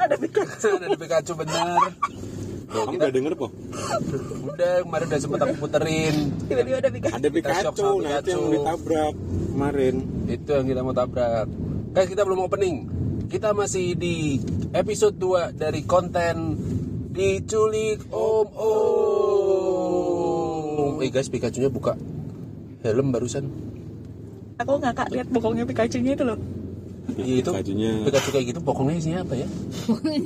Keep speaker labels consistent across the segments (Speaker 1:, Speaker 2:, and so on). Speaker 1: ada di Pikachu bener Tuh,
Speaker 2: Kamu
Speaker 1: kita
Speaker 2: udah denger po?
Speaker 1: udah kemarin udah sempet aku puterin
Speaker 3: tiba-tiba ada Pikachu
Speaker 2: Ada
Speaker 1: Kita shock
Speaker 2: Pikachu,
Speaker 1: sama
Speaker 2: nah itu yang
Speaker 1: Pikachu.
Speaker 2: ditabrak kemarin.
Speaker 1: itu yang kita mau tabrak guys kita belum opening kita masih di episode 2 dari konten diculik om om eh guys Pikachu nya buka helm barusan
Speaker 3: aku ngakak lihat bokongnya Pikachu nya itu loh
Speaker 1: Iya itu
Speaker 2: Pikachunya
Speaker 1: Pikachu kayak gitu pokoknya isinya apa ya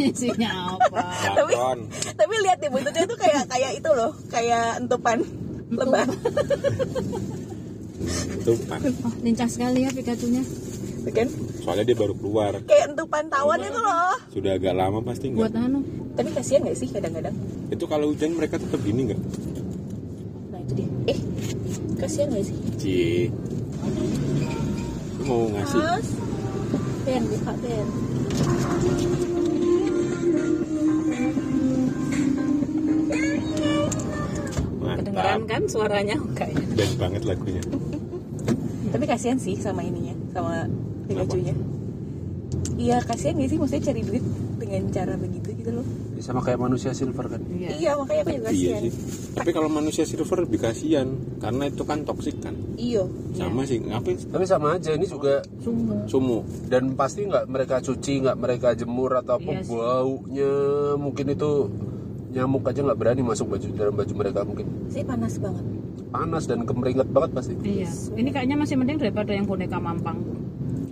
Speaker 4: isinya apa
Speaker 3: tapi
Speaker 2: Patron.
Speaker 3: tapi lihat deh buntutnya tuh kayak kayak itu loh kayak entupan lebah
Speaker 2: Tumpah.
Speaker 4: oh, lincah sekali ya Pikachunya
Speaker 3: Tuh kan
Speaker 2: Soalnya dia baru keluar.
Speaker 3: kayak entupan tawan itu loh
Speaker 2: Sudah agak lama pasti
Speaker 4: buat
Speaker 2: enggak.
Speaker 4: anu
Speaker 3: tapi kasihan gak sih kadang-kadang
Speaker 2: Itu kalau hujan mereka tetap gini enggak?
Speaker 3: nah itu dia eh kasihan gak sih
Speaker 2: Cie. Lu mau ngasih
Speaker 3: Mas Ben buka Ben
Speaker 2: mantap.
Speaker 4: kedengeran kan suaranya kayaknya
Speaker 2: Dan banget lagunya.
Speaker 3: tapi kasihan sih sama ininya sama
Speaker 2: Kenapa?
Speaker 3: Pikachu nya iya kasihan gak sih maksudnya cari duit dengan cara begitu gitu loh
Speaker 1: sama kayak manusia silver kan
Speaker 3: iya makanya aku
Speaker 2: Iya
Speaker 3: juga kasihan
Speaker 2: sih. Tapi kalau manusia silver lebih kasihan karena itu kan toksik kan.
Speaker 3: iyo
Speaker 2: Sama sih. Ngapain
Speaker 1: tapi sama aja ini juga
Speaker 4: sumber
Speaker 2: sumo?
Speaker 1: dan pasti nggak mereka cuci nggak mereka jemur atau apa
Speaker 4: Iya sih.
Speaker 1: baunya mungkin itu nyamuk aja nggak berani masuk baju dalam baju mereka mungkin
Speaker 3: sih panas banget
Speaker 1: panas dan kemeringat banget pasti
Speaker 4: iya ini kayaknya masih mending daripada yang boneka mampang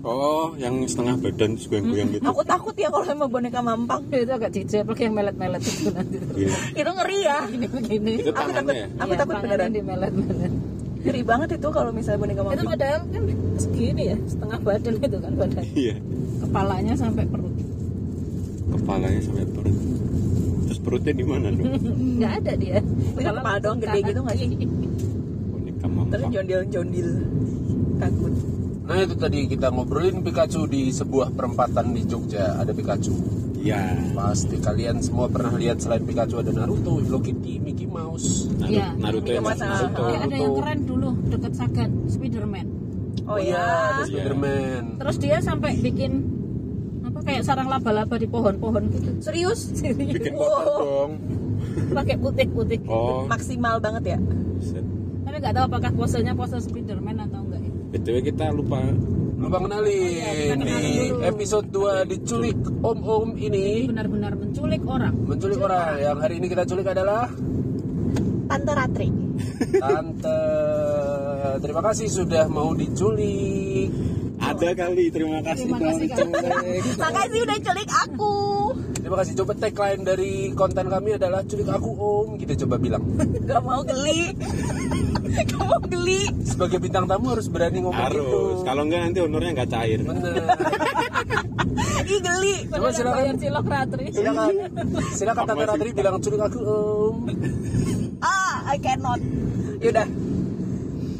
Speaker 2: Oh, yang setengah badan terus goyang-goyang gitu.
Speaker 3: aku takut ya kalau sama boneka mampang
Speaker 4: itu agak jijik apalagi yang melet-melet itu nanti
Speaker 2: Gini.
Speaker 3: itu ngeri ya
Speaker 4: begini
Speaker 2: Itu
Speaker 3: aku
Speaker 4: Iya,
Speaker 3: takut
Speaker 2: tangannya ya?
Speaker 3: aku takut beneran
Speaker 4: di melet-melet
Speaker 3: ngeri banget itu kalau misalnya boneka
Speaker 5: itu
Speaker 3: mampang
Speaker 5: padahal kan segini ya setengah badan itu kan badan
Speaker 2: Iya.
Speaker 4: kepalanya sampai perut
Speaker 2: Kepalanya sampai perut. Terus perutnya di mana dong?
Speaker 5: nggak ada dia
Speaker 3: Itu kepala doang gede gitu nggak sih?
Speaker 2: Boneka
Speaker 3: terus
Speaker 2: mampang.
Speaker 3: jondil jondil takut
Speaker 1: nah itu tadi kita ngobrolin Pikachu di sebuah perempatan di Jogja ada Pikachu
Speaker 2: Iya.
Speaker 1: pasti kalian semua pernah lihat selain Pikachu ada Naruto Hello Kitty Mickey Mouse
Speaker 2: Naruto,
Speaker 3: Ya.
Speaker 4: Iya.
Speaker 2: Naruto yang
Speaker 3: Mikey Mouse.
Speaker 2: Naruto.
Speaker 4: ya
Speaker 3: Iya.
Speaker 4: ada yang
Speaker 1: Naruto.
Speaker 4: keren dulu deket Sagan Spiderman
Speaker 3: oh,
Speaker 1: iya,
Speaker 3: ya
Speaker 1: ada Spiderman
Speaker 4: terus dia sampai bikin apa kayak sarang laba-laba di pohon-pohon gitu
Speaker 3: serius
Speaker 2: Bikin
Speaker 3: Wow.
Speaker 2: kotak dong.
Speaker 5: pakai putih-putih
Speaker 2: Oh,
Speaker 3: maksimal banget ya
Speaker 2: set.
Speaker 4: tapi nggak tahu apakah posenya pose Spiderman atau enggak ya.
Speaker 2: BTW kita
Speaker 1: Oh
Speaker 2: lupa
Speaker 1: iya, lupa kenalin di episode 2 diculik Om Om ini
Speaker 4: benar-benar menculik orang
Speaker 1: menculik orang yang hari ini kita culik adalah
Speaker 3: Tante Ratri
Speaker 1: Tante, terima kasih sudah mau diculik.
Speaker 2: ada kali. Terima kasih
Speaker 4: Terima kasih,
Speaker 2: Bang.
Speaker 3: makasih udah culik aku
Speaker 1: Terima kasih. Coba tagline dari konten kami adalah culik aku om. Kita coba bilang.
Speaker 3: gak mau geli gak mau geli
Speaker 1: Sebagai bintang tamu harus berani ngomong gitu.
Speaker 2: Harus. Kalau enggak nanti honornya enggak cair.
Speaker 1: Bener.
Speaker 3: ih geli
Speaker 1: Coba silakan.
Speaker 5: bayar cilok ratri
Speaker 3: Iya,
Speaker 1: Silakan. Silakan Tante
Speaker 2: Apa sih?
Speaker 1: Ratri bilang culik aku om.
Speaker 3: ah I cannot yaudah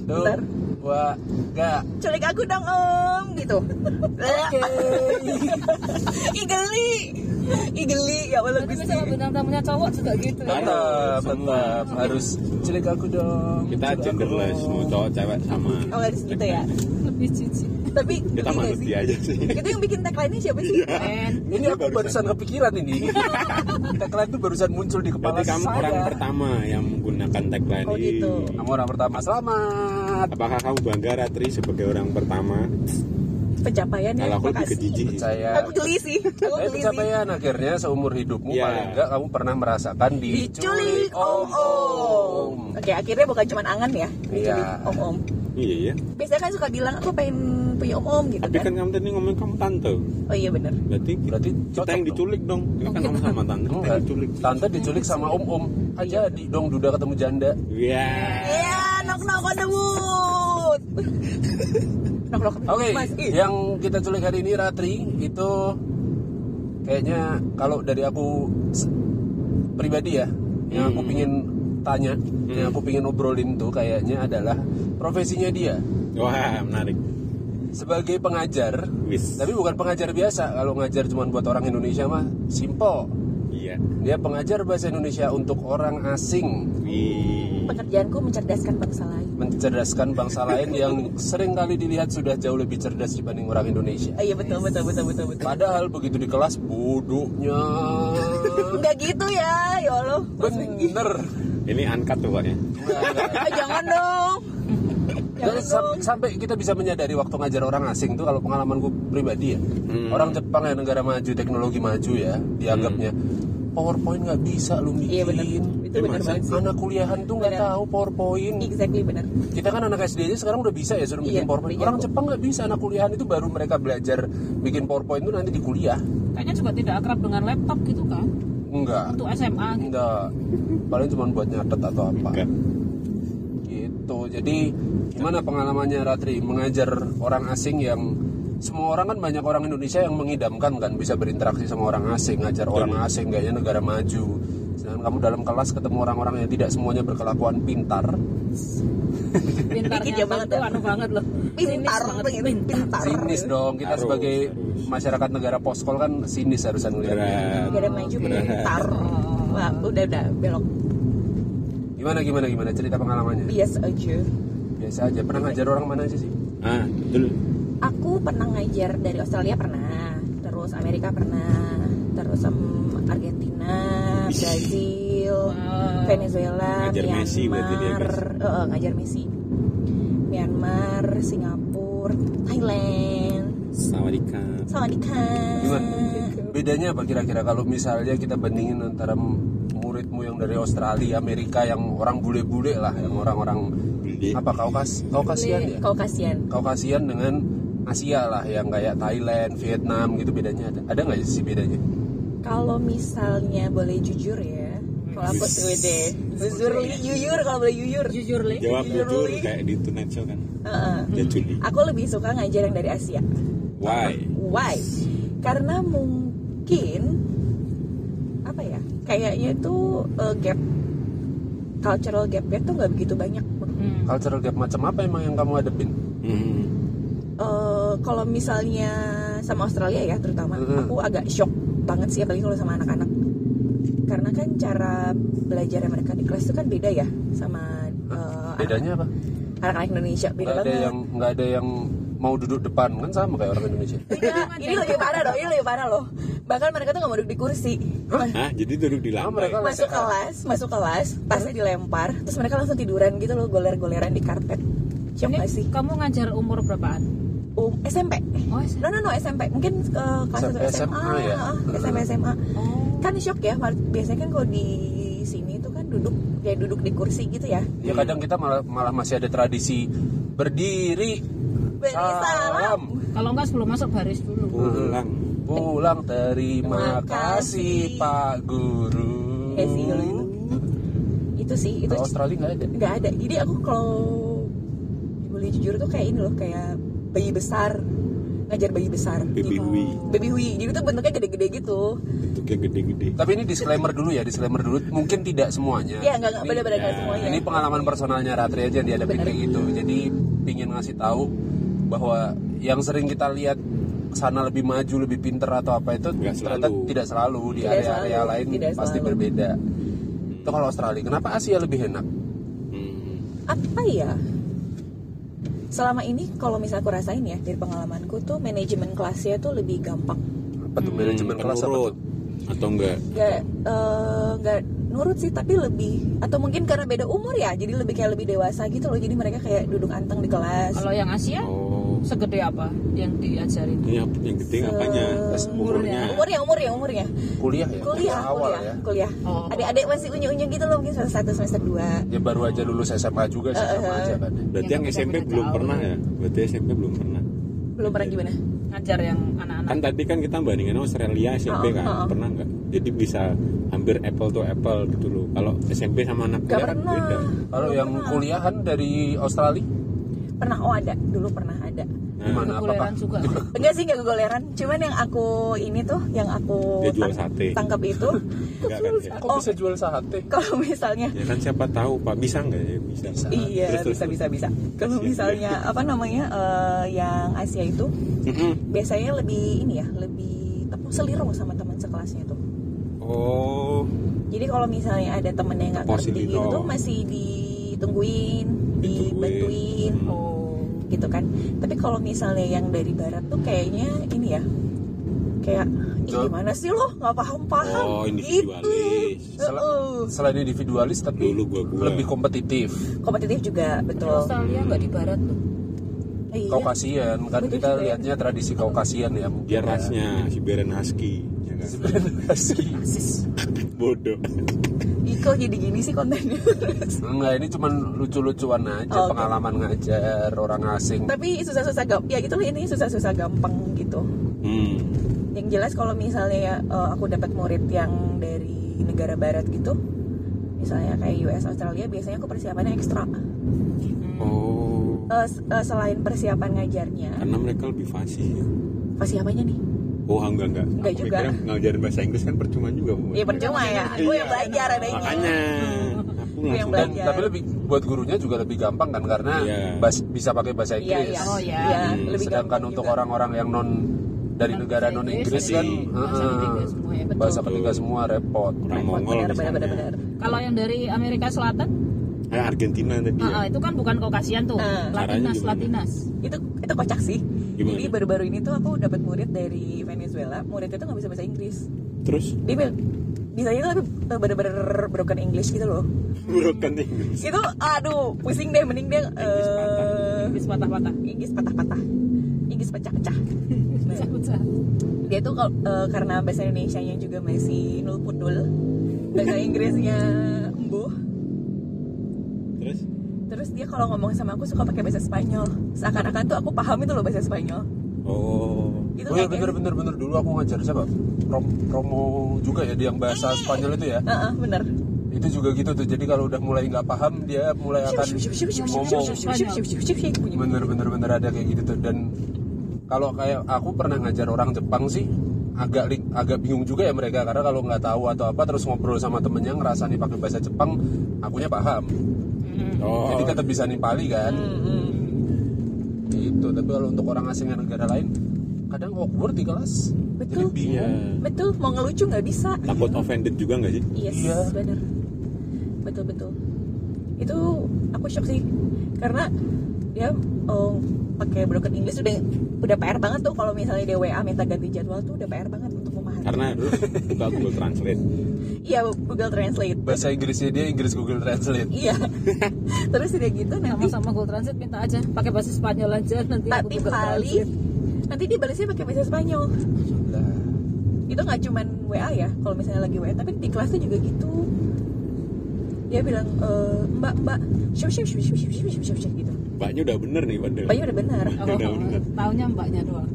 Speaker 1: Tuh.
Speaker 3: Bentar.
Speaker 1: Wah, gak.
Speaker 3: culik aku dong om gitu ih geli ih geli ya Allah
Speaker 5: tapi
Speaker 3: gusti
Speaker 5: sama bintang tamunya cowok juga gitu ya
Speaker 1: Mantap, mantap. Harus culik aku dong.
Speaker 2: Kita
Speaker 1: culik aku,
Speaker 2: genderless,
Speaker 1: Om.
Speaker 2: mau cowok cewek sama.
Speaker 3: oh harus gitu ya
Speaker 5: lebih jijik
Speaker 3: tapi
Speaker 2: Kita
Speaker 3: geli nggak sih?
Speaker 2: manusia aja sih.
Speaker 3: itu yang bikin tagline-nya siapa
Speaker 2: Iya.
Speaker 3: sih? Eh,
Speaker 4: keren
Speaker 1: Ini aku barusan kepikiran ini. Tagline itu barusan muncul di kepala
Speaker 2: Berarti kamu
Speaker 1: saya.
Speaker 2: orang pertama yang menggunakan tagline
Speaker 3: Oh,
Speaker 2: ini.
Speaker 3: gitu.
Speaker 1: Kamu orang pertama. Selamat.
Speaker 2: Apakah kamu bangga Ratri sebagai orang pertama?
Speaker 3: Pencapaian
Speaker 2: Kalau
Speaker 3: ya,
Speaker 2: aku lebih ke
Speaker 3: makasih. Iya.
Speaker 2: jijik. sih.
Speaker 1: Percaya.
Speaker 3: Aku geli sih, aku
Speaker 1: Tapi
Speaker 3: geli sih.
Speaker 1: pencapaian akhirnya seumur hidupmu
Speaker 2: Iya.
Speaker 1: paling enggak kamu pernah merasakan
Speaker 3: Diculik
Speaker 1: diculik
Speaker 3: om om.
Speaker 1: om-om.
Speaker 3: Oke, akhirnya bukan cuma angan ya. Diculik
Speaker 1: Iya.
Speaker 3: om om.
Speaker 2: Iya ya.
Speaker 3: Biasanya kan suka bilang aku pengen punya om om gitu
Speaker 2: Tapi kan kamu tadi ngomong kamu tante.
Speaker 3: Oh iya bener.
Speaker 2: Berarti kita,
Speaker 1: Berarti
Speaker 2: kita
Speaker 1: cocok dong. Oh,
Speaker 2: yang
Speaker 1: iya.
Speaker 2: diculik dong.
Speaker 3: Oh,
Speaker 2: Kita
Speaker 3: iya.
Speaker 2: kan kamu sama tante, kita yang
Speaker 1: Enggak.
Speaker 2: diculik.
Speaker 1: Tante diculik sama om-om. Aja di dong duda ketemu janda.
Speaker 2: Iya.
Speaker 3: Iya, knock knock on the wood. knock knock.
Speaker 1: Oke,
Speaker 3: Mas, ih,
Speaker 1: yang kita culik hari ini Ratri itu kayaknya kalau dari aku s- pribadi ya, yang
Speaker 2: Hmm.
Speaker 1: aku pingin tanya, yang aku pingin obrolin tuh kayaknya adalah profesinya dia
Speaker 2: Wah, menarik.
Speaker 1: sebagai pengajar.
Speaker 2: Wis.
Speaker 1: Tapi bukan pengajar biasa. Kalau ngajar cuma buat orang Indonesia mah simple.
Speaker 2: Iya.
Speaker 1: Dia pengajar bahasa Indonesia untuk orang asing,
Speaker 2: Wih.
Speaker 3: Pekerjaanku mencerdaskan bangsa lain.
Speaker 1: mencerdaskan bangsa lain yang seringkali dilihat sudah jauh lebih cerdas dibanding orang Indonesia.
Speaker 3: Oh, iya betul betul betul betul betul.
Speaker 1: Padahal begitu di kelas bodohnya
Speaker 3: Enggak gitu ya, ya Allah.
Speaker 1: bener.
Speaker 2: Ini angkat tuh Pak ya.
Speaker 3: Ah, jangan dong.
Speaker 1: Dan sam- sampai kita bisa menyadari waktu ngajar orang asing tuh kalau pengalamanku pribadi ya,
Speaker 2: Hmm.
Speaker 1: orang Jepang ya negara maju, teknologi maju ya, dianggapnya PowerPoint nggak bisa lu bikin.
Speaker 3: Iya benar. Itu
Speaker 2: Ini
Speaker 3: benar
Speaker 2: masa-
Speaker 3: banget sih.
Speaker 1: Anak kuliahan tuh nggak
Speaker 3: Benar.
Speaker 1: tahu PowerPoint.
Speaker 3: Exactly benar.
Speaker 1: Kita kan anak SD aja sekarang udah bisa ya suruh bikin
Speaker 3: Iya,
Speaker 1: PowerPoint.
Speaker 3: iya.
Speaker 1: Orang Jepang nggak bisa anak kuliahan itu baru mereka belajar bikin PowerPoint itu nanti di kuliah.
Speaker 4: Kayaknya juga tidak akrab dengan laptop gitu kan.
Speaker 1: Enggak.
Speaker 4: Untuk SMA gitu.
Speaker 1: Enggak. Paling cuma buat nyatet atau apa.
Speaker 2: Enggak.
Speaker 1: Gitu. Jadi gimana pengalamannya Ratri mengajar orang asing yang semua orang kan banyak orang Indonesia yang mengidamkan kan bisa berinteraksi sama orang asing, ngajar orang asing kayaknya negara maju. Sedangkan kamu dalam kelas ketemu orang-orang yang tidak semuanya berkelakuan pintar,
Speaker 4: Pintarnya
Speaker 3: Dikit ya banget
Speaker 4: tuh
Speaker 3: ya.
Speaker 4: anu banget loh.
Speaker 3: Pintar
Speaker 4: Sinis banget.
Speaker 3: pengen pintar.
Speaker 1: sinis dong kita
Speaker 2: Harus,
Speaker 1: sebagai
Speaker 2: harus.
Speaker 1: masyarakat negara poskol kan sinis harusnya ngeliatnya.
Speaker 2: Negara-
Speaker 3: Negara maju pengen
Speaker 2: Benar.
Speaker 3: pintar. ya. Wah, udah udah belok
Speaker 1: Gimana gimana gimana cerita pengalamannya?
Speaker 3: bias aja.
Speaker 1: Biasa aja. Pernah ngajar orang mana aja sih?
Speaker 2: Ah, dulu.
Speaker 3: Aku pernah ngajar dari Australia pernah, terus Amerika pernah, terus em, Argentina, Brazil, Venezuela,
Speaker 2: Ngajar
Speaker 3: Myanmar,
Speaker 2: Messi berarti dia, guys.
Speaker 3: Eh, eh, ngajar Messi, Myanmar, Singapura, Thailand,
Speaker 2: Sawadika.
Speaker 3: Sawadika.
Speaker 1: Gimana? Bedanya apa kira-kira kalau misalnya kita bandingin antara m- muridmu yang dari Australia, Amerika yang orang bule-bule lah, yang orang-orang
Speaker 2: Bule.
Speaker 1: apa Kaukas Kaukasian ya?
Speaker 3: Kau kasihan.
Speaker 1: Kaukasian dengan Asia lah yang kayak Thailand, Vietnam gitu bedanya ada. Ada nggak sih bedanya?
Speaker 3: Kalau misalnya boleh jujur ya,
Speaker 4: Hmm.
Speaker 3: kalau aku Swede, jujur, jujur kalau boleh jujur.
Speaker 4: Jujur li.
Speaker 2: Jawab jujur kayak di Tonight Show kan.
Speaker 3: Eh, eh.
Speaker 2: Jajuli.
Speaker 3: Aku lebih suka ngajar yang dari Asia.
Speaker 2: Why?
Speaker 3: Why? Karena mungkin apa ya? Kayaknya itu eh, gap cultural gap gap tuh nggak begitu banyak.
Speaker 4: Hmm.
Speaker 1: Cultural gap macam apa emang yang kamu hadepin?
Speaker 2: Hmm.
Speaker 3: Eh, kalau misalnya sama Australia ya terutama,
Speaker 1: Mhm.
Speaker 3: aku agak shock banget sih apalagi kalau sama anak-anak. Karena kan cara belajar mereka di kelas itu kan beda ya sama eh,
Speaker 1: Bedanya apa?
Speaker 3: anak-anak Indonesia beda
Speaker 1: Nggak ada
Speaker 3: banget.
Speaker 1: yang nggak ada yang mau duduk depan kan sama kayak orang Indonesia.
Speaker 3: Enggak, ini lebih parah loh, ini lebih parah loh. Bahkan mereka tuh nggak mau duduk di kursi.
Speaker 2: Ah, jadi duduk di
Speaker 1: Ah,
Speaker 2: lantai.
Speaker 1: mereka
Speaker 3: masuk kelas, masuk kelas, tasnya dilempar, terus mereka langsung tiduran gitu loh, goler-goleran di karpet. Siapa
Speaker 4: Ini
Speaker 3: nggak sih?
Speaker 4: kamu ngajar umur berapaan?
Speaker 3: Um, SMP.
Speaker 4: Oh,
Speaker 3: No no no SMP. Mungkin ke kelas
Speaker 1: SMP,
Speaker 3: 1 SMA,
Speaker 1: SMA ya?
Speaker 3: ah, SMP SMA.
Speaker 4: Oh.
Speaker 3: Kan shock ya, mar- biasanya kan kalau di sini tuh kan duduk kayak duduk di kursi gitu ya.
Speaker 1: Ya kadang kita malah, malah masih ada tradisi berdiri,
Speaker 3: Beri salam.
Speaker 4: Kalau enggak sebelum masuk baris
Speaker 3: Oh,
Speaker 4: dulu.
Speaker 2: Pulang.
Speaker 1: pulang terima
Speaker 3: Terima
Speaker 1: kasih
Speaker 3: kasih.
Speaker 1: Pak Guru.
Speaker 3: Ya sih kalau gitu. Itu sih, itu
Speaker 1: Kalau Australia nggak ada.
Speaker 3: nggak ada. Jadi aku kalau boleh jujur tuh kayak ini loh, kayak bayi besar ngajar bayi besar.
Speaker 2: Baby
Speaker 4: Gitu.
Speaker 2: Wee.
Speaker 3: Baby hui, jadi tuh bentuknya gede-gede gitu.
Speaker 2: Bentuknya gede-gede.
Speaker 1: Tapi ini disclaimer dulu ya, disclaimer dulu. Mungkin tidak semuanya.
Speaker 3: Iya, nggak
Speaker 1: Ya,
Speaker 3: nggak
Speaker 1: Ini-
Speaker 3: benar-benar nggak
Speaker 2: ya,
Speaker 3: semuanya.
Speaker 1: Ini pengalaman personalnya Ratri aja yang dihadapi
Speaker 3: Benar.
Speaker 1: kayak gitu. Jadi pingin ngasih tahu bahwa yang sering kita lihat sana lebih maju, lebih pinter atau apa itu
Speaker 2: Nggak
Speaker 1: ternyata
Speaker 2: selalu.
Speaker 1: tidak selalu di
Speaker 3: Tidak
Speaker 1: area-area
Speaker 3: selalu,
Speaker 1: lain
Speaker 3: tidak
Speaker 1: pasti
Speaker 3: selalu.
Speaker 1: berbeda. Itu kalau Australia. Kenapa Asia lebih enak?
Speaker 2: Hmm.
Speaker 3: Apa ya? Selama ini kalau misalnya aku rasain ya dari pengalamanku tuh manajemen kelasnya tuh lebih gampang.
Speaker 1: Apa
Speaker 2: Hmm,
Speaker 1: tuh manajemen kelas apa
Speaker 2: Penurut.
Speaker 1: tuh?
Speaker 2: atau enggak?
Speaker 3: Gak eh, nggak nurut sih tapi lebih atau mungkin karena beda umur ya jadi lebih kayak lebih dewasa gitu loh jadi mereka kayak duduk anteng di kelas
Speaker 4: Kalau yang
Speaker 3: Ya.
Speaker 4: Asia
Speaker 2: Oh.
Speaker 4: segede apa yang diajarin?
Speaker 2: Ini apa- Iya, yang gede apanya? Umurnya.
Speaker 3: umurnya umurnya umurnya
Speaker 1: Kuliah ya?
Speaker 3: kuliah
Speaker 1: Awal
Speaker 3: kuliah
Speaker 1: ya?
Speaker 3: kuliah
Speaker 4: Oh.
Speaker 3: adik-adik masih unyu-unyu gitu loh mungkin semester satu semester dua
Speaker 1: Ya baru aja lulus SMA juga sih sama aja kan. ya.
Speaker 2: Berarti
Speaker 4: Ya,
Speaker 2: yang
Speaker 4: beda-beda
Speaker 2: SMP belum
Speaker 4: jauh.
Speaker 2: pernah ya? Berarti SMP belum pernah.
Speaker 3: belum pernah gimana
Speaker 4: Ngajar yang anak-anak.
Speaker 2: Kan tadi kan kita bandingin Australia SMP
Speaker 3: Oh,
Speaker 2: kan,
Speaker 3: oh.
Speaker 2: pernah nggak? Jadi bisa hampir apple to apple gitu loh. Kalau SMP sama anak kuliah
Speaker 3: Gak
Speaker 2: kan
Speaker 3: pernah.
Speaker 2: beda.
Speaker 1: Kalau yang kuliahan dari Australia
Speaker 3: pernah oh ada dulu pernah ada Kan
Speaker 1: gimana? Apakah
Speaker 4: Kekuliaran juga.
Speaker 3: enggak sih enggak kegoleran cuman yang aku ini tuh yang aku
Speaker 2: Dia jual
Speaker 3: tang-
Speaker 2: sate.
Speaker 3: tangkap itu
Speaker 2: Enggak kan ya?
Speaker 3: Oh.
Speaker 1: kok bisa jual sate?
Speaker 3: kalau misalnya
Speaker 2: Ya kan siapa tahu Pak bisa nggak ya? Bisa.
Speaker 3: iya
Speaker 2: Terus, terus,
Speaker 3: bisa bisa bisa kalau
Speaker 2: Siap.
Speaker 3: misalnya apa namanya eh, yang Asia itu
Speaker 2: Mm-mm.
Speaker 3: biasanya lebih ini ya lebih tepuk selirung sama teman sekelasnya tuh
Speaker 2: Oh,
Speaker 3: Jadi kalau misalnya ada temen yang nggak ngerti
Speaker 2: Posilino.
Speaker 3: gitu tuh masih ditungguin, dibantuin
Speaker 4: oh
Speaker 3: gitu kan. Tapi kalau misalnya yang dari barat tuh kayaknya ini ya kayak "Ih,
Speaker 1: Hah?
Speaker 3: gimana sih lo nggak paham paham Gitu.
Speaker 2: Oh, individualis.
Speaker 1: Sel- selain individualis tapi
Speaker 2: Dulu gua-gua.
Speaker 1: lebih kompetitif
Speaker 3: kompetitif juga betul
Speaker 5: Australia nggak di barat loh.
Speaker 3: iya.
Speaker 1: Kaukasian kan
Speaker 3: Betul
Speaker 1: kita
Speaker 3: juga.
Speaker 1: lihatnya tradisi Kaukasian ya mungkin
Speaker 2: dia
Speaker 1: ya.
Speaker 2: rasnya Siberian Husky, ya kan?
Speaker 1: Husky.
Speaker 3: Sis,
Speaker 2: Bodoh.
Speaker 3: Ih, kok jadi gini sih kontennya
Speaker 1: Enggak, ini cuman lucu-lucuan aja,
Speaker 3: Oh, Oke.
Speaker 1: pengalaman ngajar orang asing.
Speaker 3: tapi susah-susah gampang ya gitu loh ini susah-susah gampang gitu
Speaker 2: Hmm.
Speaker 3: yang jelas kalau misalnya eh, aku dapat murid yang dari negara barat gitu misalnya kayak US Australia biasanya aku persiapannya ekstra
Speaker 2: Oh,
Speaker 3: Eh, s- eh, selain persiapan ngajarnya
Speaker 2: karena mereka lebih fasih ya.
Speaker 3: persiapannya nih
Speaker 2: Oh, enggak enggak.
Speaker 3: Enggak
Speaker 2: Aku
Speaker 3: juga.
Speaker 2: mikirnya ngajarin bahasa Inggris kan percuma juga, Bu.
Speaker 3: ya percuma ya aku yang belajar adanya
Speaker 2: Makanya aku langsung
Speaker 3: Yang
Speaker 1: Dan
Speaker 3: belajar.
Speaker 1: tapi lebih buat gurunya juga lebih gampang kan karena
Speaker 2: Iya.
Speaker 1: bas- bisa pakai bahasa
Speaker 3: Iya,
Speaker 1: Inggris.
Speaker 3: iya.
Speaker 4: Oh, iya.
Speaker 3: Iya,
Speaker 2: Hmm.
Speaker 3: lebih
Speaker 1: gitu. Sedangkan
Speaker 3: gampang
Speaker 1: untuk
Speaker 3: juga.
Speaker 1: orang-orang yang non dari
Speaker 4: Bahasa
Speaker 1: negara non Inggris
Speaker 4: Inggris,
Speaker 1: kan
Speaker 4: bahasa
Speaker 1: eh,
Speaker 4: ketiga semua ya, betul.
Speaker 1: bahasa ketiga semua repot.
Speaker 2: orang Mongol
Speaker 3: benar benar
Speaker 2: misalnya.
Speaker 3: benar benar.
Speaker 4: kalau yang dari Amerika Selatan
Speaker 2: Eh, Argentina
Speaker 5: Iya.
Speaker 2: tadi.
Speaker 4: ah, ah,
Speaker 2: Ya.
Speaker 4: itu kan bukan Kaukasian tuh
Speaker 3: Ah.
Speaker 2: Caranya
Speaker 4: Latinas
Speaker 2: gimana?
Speaker 4: Latinas
Speaker 3: itu itu kocak sih
Speaker 2: Gimana?
Speaker 3: jadi baru-baru ini tuh aku dapat murid dari Venezuela muridnya tuh nggak bisa bahasa Inggris
Speaker 2: Terus
Speaker 3: dia bil- bisanya tuh tapi bener-bener broken English gitu loh
Speaker 2: bukan Inggris.
Speaker 3: itu aduh pusing deh mending dia
Speaker 2: Inggris patah.
Speaker 3: eh,
Speaker 4: Inggris patah-patah
Speaker 3: Inggris patah-patah Inggris pecah-pecah Nah,
Speaker 4: Pecah-pecah.
Speaker 3: dia tuh kal- eh, karena bahasa Indonesia nya juga masih nul pundul bahasa Inggrisnya embuh
Speaker 2: Terus
Speaker 3: terus dia kalau ngomong sama aku suka pakai bahasa Spanyol seakan-akan tuh aku paham itu loh bahasa Spanyol
Speaker 2: oh,
Speaker 3: itu
Speaker 1: Oh iya, bener bener bener dulu aku ngajar siapa? Rom- Romo juga ya dia yang bahasa
Speaker 4: Iya.
Speaker 1: Spanyol itu ya.
Speaker 3: Heeh, bener
Speaker 1: Itu juga gitu tuh. Jadi kalau udah mulai nggak paham dia mulai akan ngomong.
Speaker 3: Ngomong.
Speaker 1: bener-bener bener ada kayak gitu tuh dan kalau kayak aku pernah ngajar orang Jepang sih agak li- agak bingung juga ya mereka karena kalau nggak tahu atau apa terus ngobrol sama temennya ngerasa nih pakai bahasa Jepang akunya paham
Speaker 4: Mm-hmm.
Speaker 2: oh.
Speaker 1: jadi tetap bisa nimpali kan gitu tapi kalau untuk orang asing yang negara lain kadang awkward di kelas jadi
Speaker 3: Betul.
Speaker 2: Iya.
Speaker 1: bingung
Speaker 3: Betul, mau ngelucu nggak bisa.
Speaker 2: Takut offended juga nggak sih?
Speaker 3: Yes,
Speaker 1: Iya.
Speaker 3: benar. Betul betul. Itu aku shock sih karena dia oh, pakai broken English udah udah PR banget tuh kalau misalnya dia WA minta ganti jadwal tuh udah PR banget untuk memahami.
Speaker 2: Karena buka Google Translate.
Speaker 3: Iya Google Translate.
Speaker 1: bahasa Inggrisnya dia Inggris Google Translate
Speaker 3: Iya. Terus udah gitu
Speaker 5: Sama
Speaker 3: nanti
Speaker 5: sama Google Translate minta aja pakai bahasa Spanyol aja nanti Iya, aku
Speaker 3: tapi
Speaker 5: Google
Speaker 3: kali
Speaker 5: Translate.
Speaker 3: nanti dia balasnya pakai bahasa Spanyol.
Speaker 1: Nah,
Speaker 3: itu nggak cuman WA ya kalau misalnya lagi WA tapi di kelasnya juga gitu dia bilang e, mbak mbak siap siap siap siap siap siap siap, siap, siap," gitu
Speaker 2: Mbaknya udah bener nih padahal.
Speaker 3: banyak udah benar
Speaker 2: Ya udah, udah.
Speaker 4: Oh, gitu. taunya mbaknya doang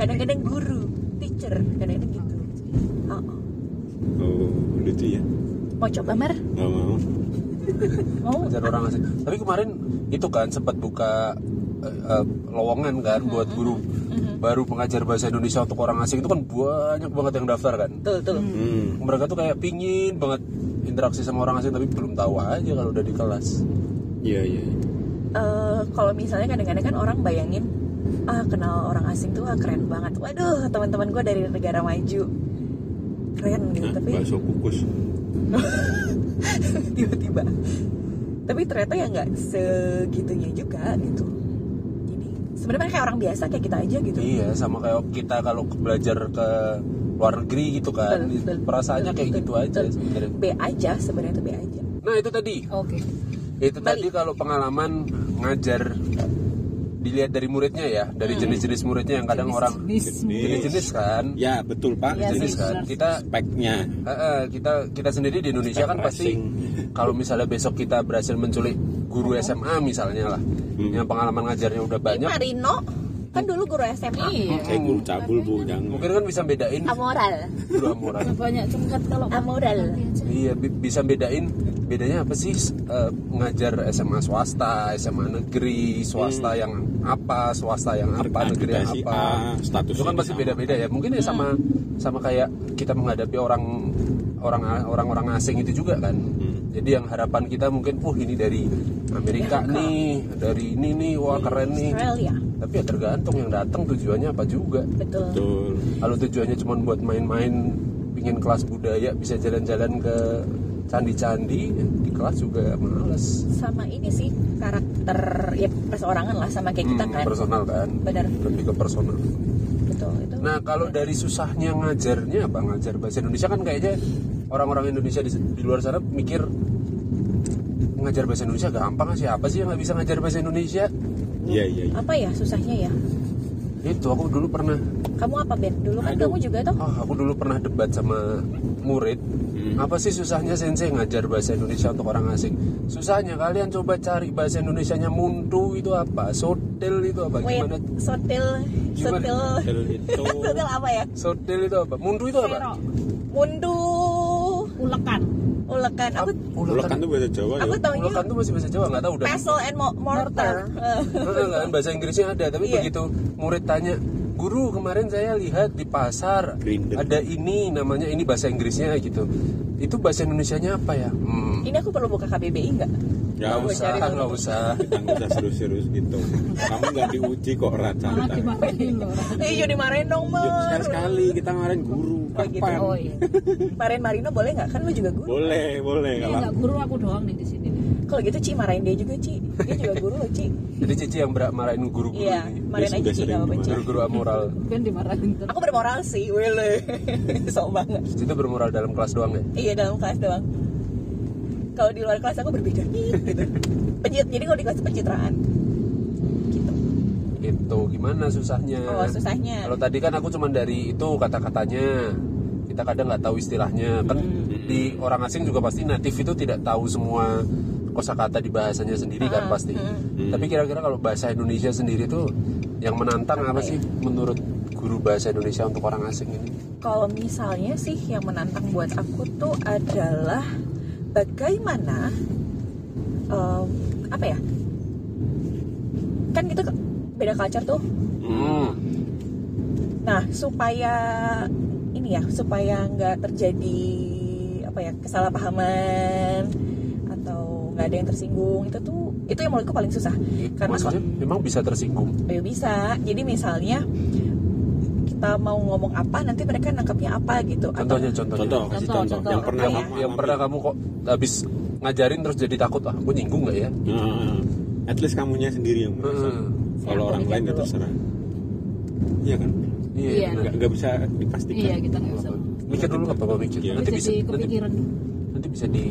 Speaker 3: kadang-kadang guru teacher kadang-kadang gitu Oh, oh.
Speaker 2: Oh, lucu ya.
Speaker 3: mau coba mer
Speaker 2: Nggak mau.
Speaker 3: mau
Speaker 1: ngajar orang asing tapi kemarin itu kan sempat buka eh, eh, lowongan kan buat guru baru pengajar bahasa Indonesia untuk orang asing itu kan banyak banget yang daftar kan
Speaker 3: tuh tuh
Speaker 2: Hmm.
Speaker 1: mereka tuh kayak pingin banget interaksi sama orang asing tapi belum tahu aja kalau udah di kelas
Speaker 2: Iya, iya. iya.
Speaker 3: Eh, kalau misalnya kadang-kadang kan orang bayangin ah kenal orang asing tuh ah, keren banget waduh teman-teman gue dari negara maju keren gitu
Speaker 2: Nah,
Speaker 3: tapi
Speaker 2: bakso kukus.
Speaker 3: tiba-tiba tapi ternyata ya nggak segitunya juga gitu jadi sebenarnya kayak orang biasa kayak kita aja gitu
Speaker 1: iya sama kayak kita kalau belajar ke luar negeri gitu kan
Speaker 3: Betul, betul.
Speaker 1: perasaannya kayak
Speaker 3: Betul,
Speaker 1: gitu aja
Speaker 3: betul.
Speaker 1: sebenarnya
Speaker 3: B aja sebenarnya itu B aja
Speaker 1: nah itu tadi
Speaker 5: Oke.
Speaker 1: itu
Speaker 3: Balik.
Speaker 1: tadi kalau pengalaman ngajar dilihat dari muridnya ya
Speaker 3: Hmm.
Speaker 1: dari jenis-jenis muridnya yang kadang orang jenis-jenis kan
Speaker 2: Ya, betul, Pak.
Speaker 4: Iya
Speaker 1: jenis
Speaker 4: sih,
Speaker 1: kan
Speaker 4: benar.
Speaker 1: kita
Speaker 2: Speknya.
Speaker 1: eh, eh, kita kita sendiri di Indonesia
Speaker 2: Spek
Speaker 1: kan pasti
Speaker 2: racing.
Speaker 1: kalau misalnya besok kita berhasil menculik
Speaker 3: Iya.
Speaker 1: guru SMA misalnya lah yang pengalaman ngajarnya udah
Speaker 3: ini
Speaker 1: banyak
Speaker 3: Marino kan dulu guru SMA
Speaker 4: iya
Speaker 2: Saya guru cabul, Bu. Jangan.
Speaker 1: mungkin kan bisa bedain
Speaker 3: Iya. amoral
Speaker 1: Aduh, amoran.
Speaker 5: Banyak cengkat kalau
Speaker 3: amoral
Speaker 1: iya bi- bisa bedain bedanya apa sih eh, ngajar SMA swasta SMA negeri swasta yang apa swasta yang apa negeri yang
Speaker 2: Akreditasi
Speaker 1: apa
Speaker 2: A, statusnya
Speaker 1: itu kan pasti
Speaker 2: sama.
Speaker 1: beda-beda ya mungkin ya sama sama kayak kita menghadapi orang orang orang orang asing itu juga kan jadi yang harapan kita mungkin oh ini dari Amerika nih dari ini nih wah keren nih
Speaker 3: Australia
Speaker 1: tapi ya tergantung yang datang tujuannya apa juga
Speaker 3: betul
Speaker 2: Betul.
Speaker 1: kalau tujuannya cuma buat main-main pingin kelas budaya bisa jalan-jalan ke candi-candi di kelas juga males
Speaker 3: sama ini sih karakter ya perseorangan lah sama kayak kita
Speaker 1: Hmm,
Speaker 3: kan
Speaker 1: personal kan
Speaker 3: benar
Speaker 1: lebih ke personal
Speaker 3: betul itu
Speaker 1: nah kalau dari susahnya ngajarnya apa ngajar bahasa Indonesia kan kayaknya orang-orang Indonesia di, di luar sana mikir ngajar bahasa Indonesia gampang sih apa sih yang nggak bisa ngajar bahasa Indonesia
Speaker 2: Iya iya. iya.
Speaker 3: apa ya susahnya ya
Speaker 1: itu aku dulu pernah
Speaker 3: kamu apa Ben dulu kan
Speaker 2: Aduh.
Speaker 3: kamu juga toh
Speaker 1: ah, aku dulu pernah debat sama murid
Speaker 2: Hmm.
Speaker 1: apa sih susahnya sensei ngajar bahasa Indonesia untuk orang asing susahnya kalian coba cari bahasa Indonesianya muntu itu apa sotel itu apa
Speaker 3: wait
Speaker 1: gimana
Speaker 3: sotil
Speaker 1: Gimana?
Speaker 3: sotil
Speaker 2: Hotel itu
Speaker 3: sotil apa ya
Speaker 1: sotel itu apa muntu itu apa
Speaker 4: Serok,
Speaker 3: mundu
Speaker 4: ulekan.
Speaker 3: ulekan aku
Speaker 1: Ap-
Speaker 2: Ulekan tuh bahasa Jawa ya.
Speaker 3: aku taunya
Speaker 1: ulekan tuh masih bahasa Jawa nggak tahu udah
Speaker 3: pestle and mo- mortar
Speaker 1: Heeh, kan bahasa Inggrisnya ada tapi
Speaker 3: Iya.
Speaker 1: begitu murid tanya guru kemarin saya lihat di pasar
Speaker 2: Grinder.
Speaker 1: ada ini namanya ini bahasa Inggrisnya gitu itu bahasa Indonesianya apa ya hmm.
Speaker 3: ini aku perlu buka KBBI nggak
Speaker 2: Gak
Speaker 3: Iya,
Speaker 1: Nggak
Speaker 2: usah.
Speaker 1: usah nggak usah
Speaker 2: Kita nggak usah serius-serius gitu. Kamu nggak diuji kok raca.
Speaker 4: Malah dimakanin loh.
Speaker 3: iya dimarahin dong mer
Speaker 2: Sekali sekali kita ngarahin guru.
Speaker 3: Oh, gitu.
Speaker 2: Kapan?
Speaker 5: oh iya
Speaker 3: marahin Marino boleh nggak kan lu juga guru
Speaker 2: Boleh boleh.
Speaker 4: Ini
Speaker 2: Kalau
Speaker 4: enggak guru aku doang nih di sini.
Speaker 3: kalau gitu Ci marahin dia juga Ci dia juga guru loh Ci
Speaker 1: jadi Cici yang berak marahin guru-guru
Speaker 3: iya
Speaker 1: ini
Speaker 3: marahin aja
Speaker 2: sudah
Speaker 3: Ci
Speaker 2: sering
Speaker 3: nggak apa-apa Ci
Speaker 1: guru-guru amoral
Speaker 4: Ben dimarahin terus.
Speaker 3: aku bermoral sih wele sok banget
Speaker 1: itu bermoral dalam kelas doang ya
Speaker 3: Iya dalam kelas doang. Kalau di luar kelas aku berbeda nih, gitu. Pencit, jadi kalau di kelas pencitraan. Gitu.
Speaker 1: itu gimana susahnya
Speaker 3: Oh, susahnya.
Speaker 1: Iya. kalau tadi kan aku cuman dari itu kata-katanya kita kadang nggak tahu istilahnya kan
Speaker 3: Hmm.
Speaker 1: di orang asing juga pasti natif itu tidak tahu semua kosakata di bahasanya sendiri kan
Speaker 3: Ah,
Speaker 1: pasti
Speaker 2: hmm.
Speaker 1: tapi kira-kira kalau bahasa Indonesia sendiri tuh yang menantang apa,
Speaker 3: Apa ya?
Speaker 1: sih menurut guru bahasa Indonesia untuk orang asing ini
Speaker 3: Kalau misalnya sih yang menantang buat aku tuh adalah bagaimana em, apa ya? Kan gitu beda culture tuh.
Speaker 2: Hmm.
Speaker 3: Nah, supaya ini ya, supaya nggak terjadi apa ya kesalahpahaman atau nggak ada yang tersinggung itu tuh itu yang menurutku paling susah karena
Speaker 1: maksudnya memang bisa tersinggung
Speaker 3: kalau- ya bisa jadi misalnya kita mau ngomong apa nanti mereka nangkapnya apa gitu atau
Speaker 1: contohnya contohnya
Speaker 2: Contoh, kasih
Speaker 5: Contoh,
Speaker 2: contoh.
Speaker 5: contoh.
Speaker 2: Yang pernah
Speaker 3: Apa
Speaker 1: yang,
Speaker 2: kamu
Speaker 1: Iya, yang
Speaker 2: alami.
Speaker 1: pernah kamu kok habis ngajarin terus jadi takut ah gue nyinggung nggak ya
Speaker 2: Nah, At least kamunya sendiri yang merasa.
Speaker 1: Heeh.
Speaker 2: Kalau
Speaker 3: Aku
Speaker 2: orang
Speaker 3: mikir
Speaker 2: lain nggak
Speaker 3: dulu.
Speaker 2: terserah. Iya kan?
Speaker 5: Iya.
Speaker 1: benar.
Speaker 2: Nggak nggak bisa dipastikan.
Speaker 4: Iya, kita nggak bisa.
Speaker 1: mikir dulu nggak apa-apa mikir
Speaker 2: Iya.
Speaker 1: nanti
Speaker 4: Jadi
Speaker 1: bisa nanti,
Speaker 4: kepikiran.
Speaker 1: nanti bisa di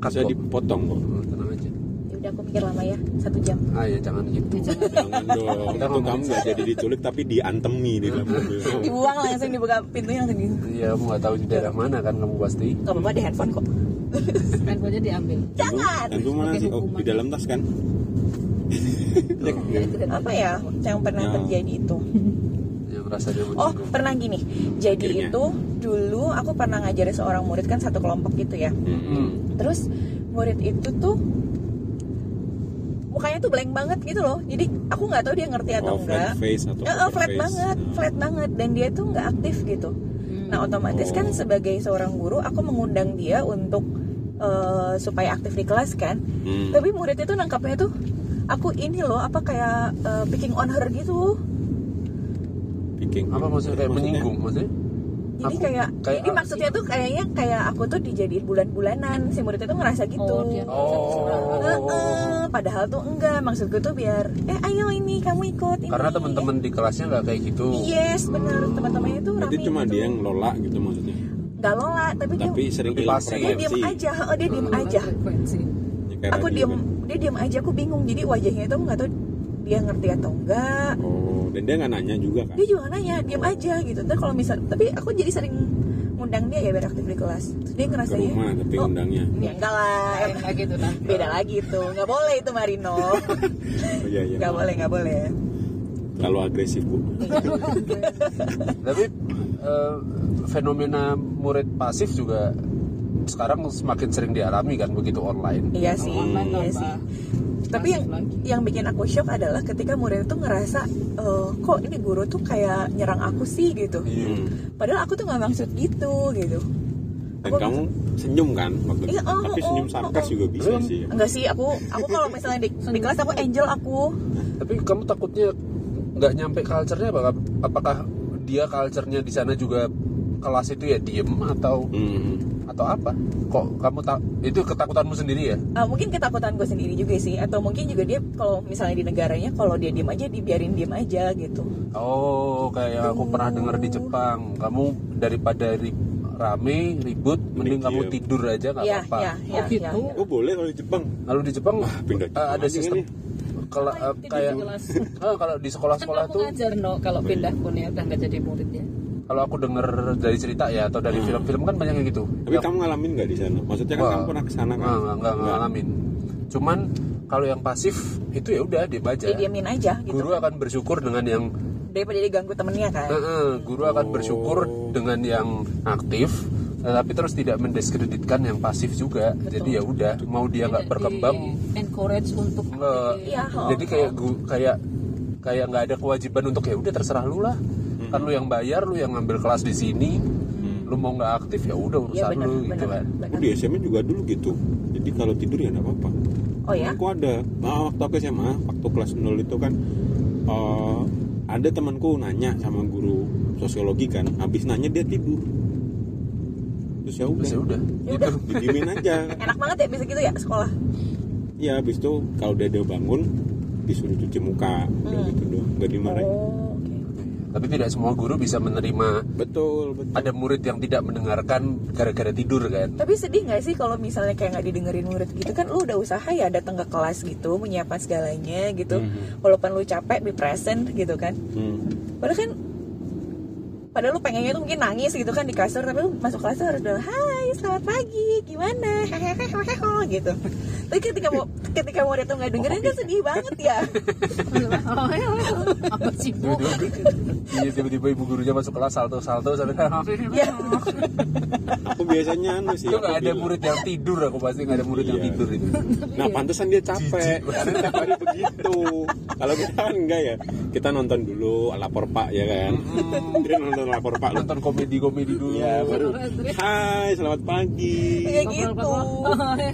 Speaker 1: cut
Speaker 2: Bisa
Speaker 1: kok.
Speaker 2: dipotong kok.
Speaker 1: Hmm, tenang aja
Speaker 3: ya udah aku mikir lama ya satu jam
Speaker 1: ah ya jangan gitu
Speaker 2: Jangan dong.
Speaker 1: Kita
Speaker 2: Itu kamu
Speaker 1: ngomongin-
Speaker 2: nggak jadi diculik tapi diantemi di dalam mobil.
Speaker 3: dibuang langsung dibuka pintunya langsung di
Speaker 1: iya kamu nggak tahu di daerah mana kan kamu pasti
Speaker 3: nggak apa-apa di handphone kok
Speaker 4: Handphonenya diambil.
Speaker 3: jangan
Speaker 2: Itu mana
Speaker 4: Pakai
Speaker 2: sih? Oh,
Speaker 4: hukuman.
Speaker 2: di dalam tas kan?
Speaker 1: Iya.
Speaker 5: Ya, itu dan
Speaker 3: apa ya yang pernah
Speaker 2: Ya.
Speaker 3: terjadi itu
Speaker 1: yang rasanya
Speaker 3: Oh
Speaker 1: menyinggung.
Speaker 3: pernah gini. Jadi
Speaker 2: Akhirnya.
Speaker 3: itu dulu aku pernah ngajarin seorang murid kan satu kelompok gitu ya.
Speaker 2: Hmm.
Speaker 3: Terus murid itu tuh mukanya tuh blank banget gitu loh. Jadi aku nggak tahu dia ngerti atau
Speaker 2: Oh,
Speaker 3: enggak.
Speaker 2: flat face atau
Speaker 3: Eh, eh,
Speaker 2: poker
Speaker 3: flat
Speaker 2: face.
Speaker 3: banget,
Speaker 2: Nah.
Speaker 3: flat banget dan dia tuh nggak aktif gitu.
Speaker 4: Hmm.
Speaker 3: Nah otomatis kan
Speaker 2: Oh.
Speaker 3: sebagai seorang guru aku mengundang dia untuk eh, supaya aktif di kelas kan.
Speaker 2: Hmm.
Speaker 3: Tapi murid itu nangkapnya tuh aku ini loh apa kayak eh, picking on her gitu.
Speaker 2: Picking.
Speaker 1: apa maksudnya kayak menyinggung maksudnya
Speaker 3: Jadi
Speaker 1: Aku-
Speaker 3: kayak,
Speaker 1: kayak-
Speaker 3: jadi maksudnya tuh kayaknya kayak aku tuh dijadiin bulan-bulanan si murid itu ngerasa gitu.
Speaker 4: Oh, dia
Speaker 1: Oh.
Speaker 3: Heeh, padahal tuh enggak maksudku tuh biar eh ayo ini kamu ikut ini.
Speaker 1: karena teman-teman di kelasnya nggak kayak gitu
Speaker 3: Yes, bener teman-temannya tuh
Speaker 2: Berarti
Speaker 3: rame.
Speaker 2: cuma
Speaker 3: gitu.
Speaker 2: dia yang lola gitu maksudnya.
Speaker 3: Nggak lola, tapi,
Speaker 2: Tapi
Speaker 3: dia
Speaker 2: sering Hmm.
Speaker 1: Tapi
Speaker 2: hilang
Speaker 1: pasti.
Speaker 3: dia
Speaker 1: Iya,
Speaker 3: diem
Speaker 2: frekuensi.
Speaker 3: aja. Oh, dia diem
Speaker 4: Hmm.
Speaker 3: aja.
Speaker 5: frekuensi
Speaker 2: Ya, kayak
Speaker 3: Aku
Speaker 2: radio
Speaker 3: diem,
Speaker 2: kan.
Speaker 3: dia diem aja. Aku bingung. Jadi wajahnya itu aku nggak tahu dia ngerti atau enggak.
Speaker 2: Oh, dan dia nggak nanya juga kan?
Speaker 3: Dia juga nggak nanya, diem aja gitu. Ntar kalau misal, tapi aku jadi sering ngundang dia ya biar aktif di kelas. Terus dia
Speaker 2: Ke
Speaker 3: ngerasanya,
Speaker 2: rumah tapi
Speaker 3: oh,
Speaker 2: undangnya.
Speaker 3: ya enggak lah.
Speaker 5: lain lagi
Speaker 4: gitu
Speaker 5: tuh nah
Speaker 3: beda lagi itu nggak boleh itu Marino
Speaker 2: Oh, iya, iya.
Speaker 3: nggak Iya. boleh nggak boleh
Speaker 2: Terlalu agresif bu.
Speaker 1: tapi eh, fenomena murid pasif juga sekarang semakin sering dialami kan begitu online
Speaker 3: iya sih
Speaker 4: Online
Speaker 3: iya
Speaker 4: tambah.
Speaker 3: sih tapi yang
Speaker 4: lagi.
Speaker 3: yang bikin aku shock adalah ketika murid itu ngerasa "Eh, kok ini guru tuh kayak nyerang aku sih gitu
Speaker 2: Hmm.
Speaker 3: padahal aku tuh nggak maksud gitu gitu
Speaker 2: Dan
Speaker 3: Aku-
Speaker 2: kamu senyum kan waktu itu?
Speaker 3: Iya, oh,
Speaker 2: Tapi
Speaker 3: oh,
Speaker 2: senyum
Speaker 3: oh,
Speaker 2: sarkas
Speaker 3: oh.
Speaker 2: juga bisa
Speaker 1: Belum.
Speaker 2: Iya sih.
Speaker 3: enggak sih aku aku kalau misalnya di, di kelas aku angel aku
Speaker 1: tapi kamu takutnya nggak nyampe culture-nya apa? apakah dia culture-nya di sana juga kelas itu ya diem atau
Speaker 2: Hmm.
Speaker 1: atau apa? Kok kamu tak itu ketakutanmu sendiri ya?
Speaker 3: Ah, mungkin ketakutan gue sendiri juga sih atau mungkin juga dia kalau misalnya di negaranya kalau dia diem aja dibiarin diem aja gitu
Speaker 1: Oh, kayak aku pernah dengar di Jepang, kamu daripada ri- rame ribut, mending
Speaker 2: Mending
Speaker 1: kamu
Speaker 2: diem.
Speaker 1: tidur aja nggak
Speaker 3: Iya,
Speaker 1: apa-apa.
Speaker 3: iya, iya,
Speaker 4: Oh, gitu.
Speaker 3: iya.
Speaker 2: Oh boleh kalau di Jepang.
Speaker 1: Lalu di Jepang
Speaker 2: Wah, Ah,
Speaker 1: eh,
Speaker 2: pindah Jepang
Speaker 1: ada
Speaker 2: aja
Speaker 1: sistem kela- eh,
Speaker 4: Tidur
Speaker 1: kayak
Speaker 4: di kelas.
Speaker 1: eh, kalau di sekolah-sekolah
Speaker 3: Kan
Speaker 4: Kan
Speaker 5: kamu
Speaker 1: tuh
Speaker 5: ngajar no kalau pindah
Speaker 4: ya,
Speaker 5: kuliah udah nggak jadi muridnya
Speaker 1: kalau aku denger dari cerita ya atau dari film-film kan banyak yang gitu.
Speaker 2: Hmm. Tapi kamu ngalamin nggak di sana? Maksudnya kan
Speaker 1: Wah,
Speaker 2: kamu pernah ke sana kan?
Speaker 1: nggak, nggak, nggak ngalamin. Cuman kalau yang pasif itu ya udah diem aja.
Speaker 3: didiemin aja gitu
Speaker 1: Guru akan bersyukur dengan yang
Speaker 3: daripada diganggu temennya kan
Speaker 1: eh, eh, guru
Speaker 2: Oh.
Speaker 1: akan bersyukur dengan yang aktif, tetapi terus tidak mendiskreditkan yang pasif juga. Jadi ya udah, mau dia
Speaker 4: Iya,
Speaker 1: nggak berkembang,
Speaker 5: Di encourage untuk
Speaker 1: nggak.
Speaker 3: Iya, oh.
Speaker 1: Jadi kayak gu- kayak kayak nggak ada kewajiban untuk ya udah terserah lu lah.
Speaker 2: Hmm.
Speaker 1: Kan lu yang bayar, lu yang ngambil kelas di sini. Lu mau nggak aktif ya udah urusan
Speaker 3: Iya benar,
Speaker 1: lu gitu
Speaker 3: benar,
Speaker 1: kan.
Speaker 2: Aku
Speaker 3: benar.
Speaker 2: di SMA juga dulu gitu. Jadi kalau tidur ya nggak apa-apa.
Speaker 3: Oh ya?
Speaker 2: Aku ada. Nah, waktu aku SMA, waktu kelas 0 itu kan eh, ada temanku nanya sama guru sosiologi kan. Habis nanya dia tidur. Terus ya
Speaker 1: Terus ya
Speaker 2: udah.
Speaker 1: udah.
Speaker 2: Gitu, didiemin aja.
Speaker 3: Enak banget ya bisa gitu ya sekolah.
Speaker 2: Iya, habis itu kalau dia udah bangun disuruh cuci muka, udah
Speaker 1: Hmm.
Speaker 2: gitu doang, nggak dimarahin.
Speaker 3: Oh, oke.
Speaker 1: Tapi tidak semua guru bisa menerima
Speaker 2: Betul, betul.
Speaker 1: ada murid yang tidak mendengarkan gara-gara tidur kan
Speaker 3: Tapi sedih nggak sih kalau misalnya kayak nggak didengerin murid gitu kan lu udah usaha ya datang ke kelas gitu menyiapkan segalanya gitu
Speaker 1: Mhm.
Speaker 3: walaupun lu capek be present gitu kan
Speaker 2: Hmm.
Speaker 3: padahal kan padahal lu pengennya tuh mungkin nangis gitu kan di kasur tapi lu masuk kelas tuh harus bilang hai selamat pagi gimana hehehe gitu tapi ketika mau ketika mau datang nggak dengerin kan sedih banget ya
Speaker 4: Oh, eh, eh, apa sih Bu?
Speaker 3: Oh.
Speaker 1: Tiba-tiba- Iya tiba-tiba ibu gurunya masuk kelas salto-salto sampai
Speaker 3: ya
Speaker 2: Aku biasanya anu sih.
Speaker 3: Iya,
Speaker 1: itu
Speaker 2: aku
Speaker 1: nggak ada
Speaker 2: bilang.
Speaker 1: murid yang tidur aku pasti nggak ada murid yang
Speaker 2: Iya.
Speaker 1: tidur itu
Speaker 3: ya.
Speaker 2: Nah pantesan dia capek Karena tiap hari begitu Kalau kita kan enggak ya Kita nonton dulu lapor pak ya kan Dia nonton lapor pak lu
Speaker 1: nonton komedi-komedi dulu
Speaker 2: Iya baru Hai selamat pagi
Speaker 3: kayak gitu
Speaker 4: Oh, iya,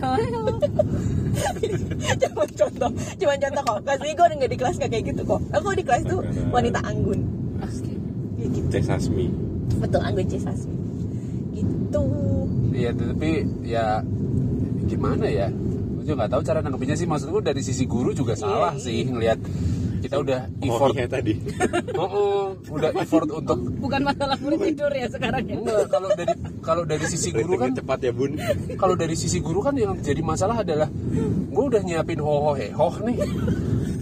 Speaker 3: cuma contoh cuma contoh kok kelas gue nggak di kelas nggak kayak gitu kok aku di kelas tuh wanita anggun kayak gitu
Speaker 2: Teh Sasmi
Speaker 3: betul anggun Cisasmi gitu
Speaker 1: Iya, tapi ya gimana ya gue juga nggak tahu cara nanggepinnya sih maksudku dari sisi guru juga
Speaker 3: Iya,
Speaker 1: salah sih ngelihat kita udah effort
Speaker 2: Ngomongnya iya tadi
Speaker 1: oh, oh, udah effort untuk
Speaker 5: bukan masalah murid tidur ya sekarang ya
Speaker 1: enggak Iya, kalau dari kalau dari sisi guru
Speaker 2: Ratingnya
Speaker 1: kan
Speaker 2: cepat ya bun
Speaker 1: kalau dari sisi guru kan yang jadi masalah adalah gue udah nyiapin hoho hehoh nih